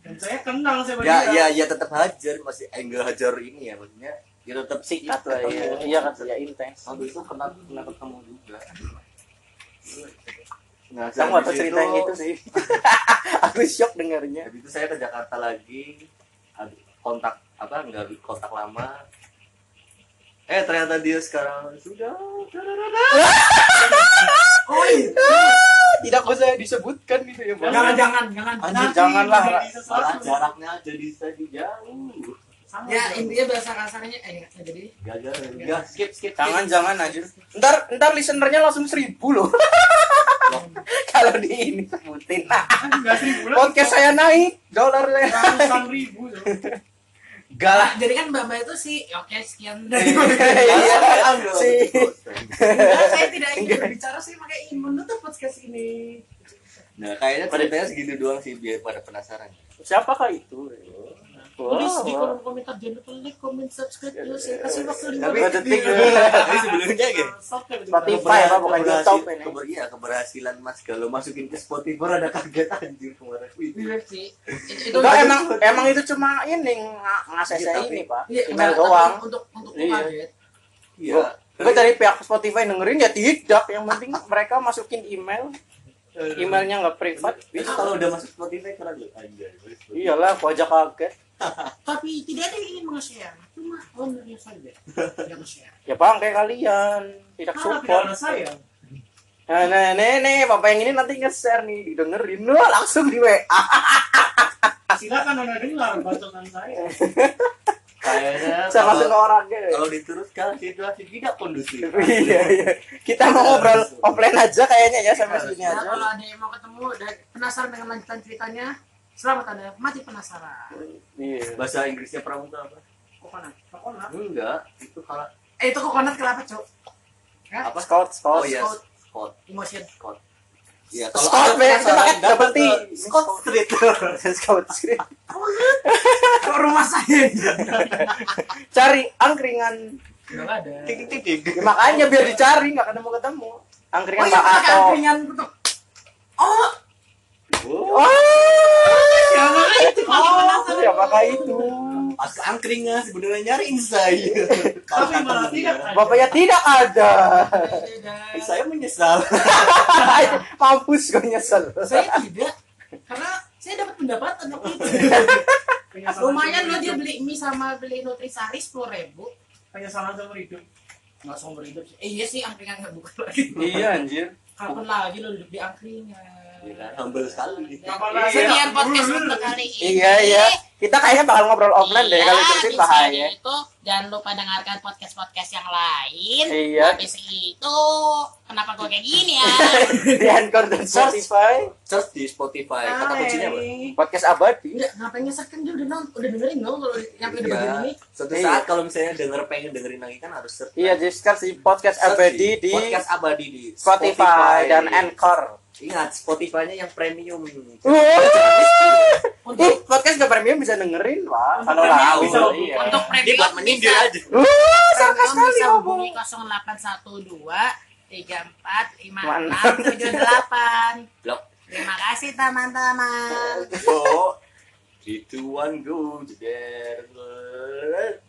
S4: Dan saya kenal saya
S1: ya
S4: berdua.
S1: ya ya tetap hajar masih angle hajar ini ya maksudnya ya tetap sikat lah ya
S2: Iya kan, ya intens.
S1: waktu itu pernah pernah ketemu juga nah
S2: Aku
S1: habis
S2: gak tau cerita yang itu sih. Aku shock dengarnya.
S1: Habis itu saya ke Jakarta lagi ad- kontak apa nggak kontak lama eh ternyata dia sekarang sudah
S2: Tidak usah disebutkan gitu ya, Bang.
S4: Jangan jangan jangan.
S2: Anjir,
S4: Nanti
S2: janganlah.
S4: menjadi sesuatu.
S1: malah jaraknya jadi tadi jauh
S4: Sangat
S3: ya
S4: jauh.
S3: intinya bahasa kasarnya eh nggak nggak jadi
S1: gagal
S2: Iya,
S1: gagal skip skip
S2: Jangan jangan anjir. Ntar ntar listenernya langsung seribu loh. Kalau di ini sebutin. Nah,
S4: Kan nggak seribu lah.
S2: Podcast saya naik, dolar saya.
S4: Ratusan ribu ya. loh.
S2: Enggak lah.
S3: jadi kan mbak mbak itu sih oke sekian
S2: Iya.
S1: kan,
S2: Si.
S3: Enggak, saya tidak ingin berbicara saya makanya ingin menutup podcast ini
S1: nah kayaknya ceritanya segitu doang sih biar pada penasaran
S2: Siapakah itu?
S3: tulis di kolom komentar jangan lupa like comment subscribe terus saya kasih waktu lima
S1: Tapi-
S3: menit
S2: detik.
S1: tapi sebelumnya gitu
S3: Subscribe juga.
S2: iya. Spotify
S4: Ah,
S2: ya, Pak, bukan
S1: Keberhasi-
S2: YouTube ini.
S1: keber- iya, keberhasilan Mas Galo masukin ke Spotify ada kaget anjir kemarin. Wih, iya.
S3: Bener sih. Itu, itu
S2: Enggak emang emang itu cuma ini ng- ngasih
S1: Iya,
S2: saya
S1: tapi-
S2: ini, Pak.
S3: Iya,
S2: Email
S3: enggak,
S2: doang.
S3: tapi Untuk untuk
S2: Iya.
S3: kaget.
S1: Iya.
S2: Gue dari pihak Spotify dengerin ya tidak, yang penting mereka masukin email, emailnya nggak privat.
S1: Itu Eh, kalau udah masuk Spotify keren loh anjir.
S2: Iyalah, gua aja kaget.
S3: Tapi tidak ada yang ingin meng-share. Cuma ownernya saja. Tidak nge-share.
S2: Ya bangke kalian, tidak
S4: Karena tidak
S2: support.
S4: ada saya.
S2: Nah, nah, nih, nih, bapak yang ini nanti nge-share nih, didengerin Wah, langsung di WA.
S4: Silakan anda dengar bacotan saya.
S1: Kayaknya
S2: Saya langsung ke
S1: kalau-
S2: orangnya.
S1: kalau diteruskan situasi tidak kondusif.
S2: Iya, iya. Kita mau ngobrol offline aja kayaknya ya sampai sini
S3: Nah, kalau
S2: aja.
S3: ada yang mau ketemu dan penasaran dengan lanjutan ceritanya, selamat Anda mati penasaran.
S2: Iya.
S1: Bahasa Inggrisnya pramuka apa?
S3: Kokonat. Kokonat.
S1: Enggak, itu kalau
S3: Eh, itu kokonat kenapa, Cok?
S2: Apa Scott, Scott.
S1: Oh iya,
S3: Scott.
S1: Scott.
S3: Emotion.
S1: Iya,
S2: Scott,
S1: ada
S2: men. Kita
S1: penasaran,
S2: pakai
S1: datang
S2: double T.
S1: ke Scott Street.
S2: Scott. Scott.
S3: Kok rumah saya?
S2: Cari angkringan.
S4: Nggak ada.
S1: Tik tik tik.
S2: Ya, makanya biar dicari nggak ketemu ketemu. Angkringan
S3: Oh, iya,
S2: Pak
S3: pakai
S2: Ato.
S3: angkringan tuh. Oh,
S1: Oh,
S2: Oh,
S3: siapa Ya, itu?
S2: oh, ya pakai itu.
S1: pas ke angkringan sebenarnya nyariin
S2: Iya.
S1: saya. Kalau
S4: Tapi
S1: kata
S4: malah
S1: dia,
S4: tidak ada.
S2: Bapaknya tidak ada. ya?
S1: Saya menyesal.
S2: Mampus gue nyesel.
S3: Saya tidak. Karena saya dapat pendapatan waktu itu.
S4: Penyesalan
S3: Lumayan
S4: seumur
S3: loh dia
S4: hidup.
S3: beli mie sama beli nutrisari sepuluh ribu.
S4: Penyesalan seumur hidup.
S3: Nggak seumur hidup sih. Eh, iya sih angkringan nggak buka lagi.
S2: Iya anjir.
S3: Kapan lagi lo duduk di angkringan?
S1: ya kan? humble sekali gitu.
S4: Apalagi
S3: Sekian
S4: ya.
S3: podcast untuk kali ini.
S2: Iya iya. Kita kayaknya bakal ngobrol offline deh
S3: Iya,
S2: kalau terusin
S3: di
S2: bahaya.
S3: sini Itu jangan lupa dengarkan podcast-podcast yang lain.
S2: Iya.
S3: Habis itu kenapa gue kayak gini ya?
S2: Di Anchor dan Spotify.
S1: Search di Spotify kata kuncinya apa? Iya.
S2: Podcast abadi.
S7: Enggak, ngapain ngesek kan dia udah nonton, udah dengerin dong kalau di- nyampe di
S1: Iya.
S7: bagian ini.
S1: Suatu
S2: Iya.
S1: saat kalau misalnya denger pengen dengerin lagi kan harus search.
S2: Iya,
S1: kan?
S2: jadi sekarang si podcast
S1: Search
S2: abadi di
S1: podcast abadi di
S2: Spotify dan Anchor.
S1: Ingat Spotify-nya yang premium.
S2: Ih, podcast gak premium bisa dengerin lah. Kalau
S4: premium
S2: tahu.
S4: bisa.
S2: Iya.
S1: Dia
S3: Untuk
S1: buat
S3: premium
S1: menyindir
S3: bisa
S1: aja.
S2: Uh, sarkas
S3: premium
S2: sekali
S3: bisa
S2: ngomong.
S3: hubungi 0812 34 56 78.
S1: Blok.
S3: Terima kasih teman-teman.
S1: Go. Three, two, one, go. Jeder.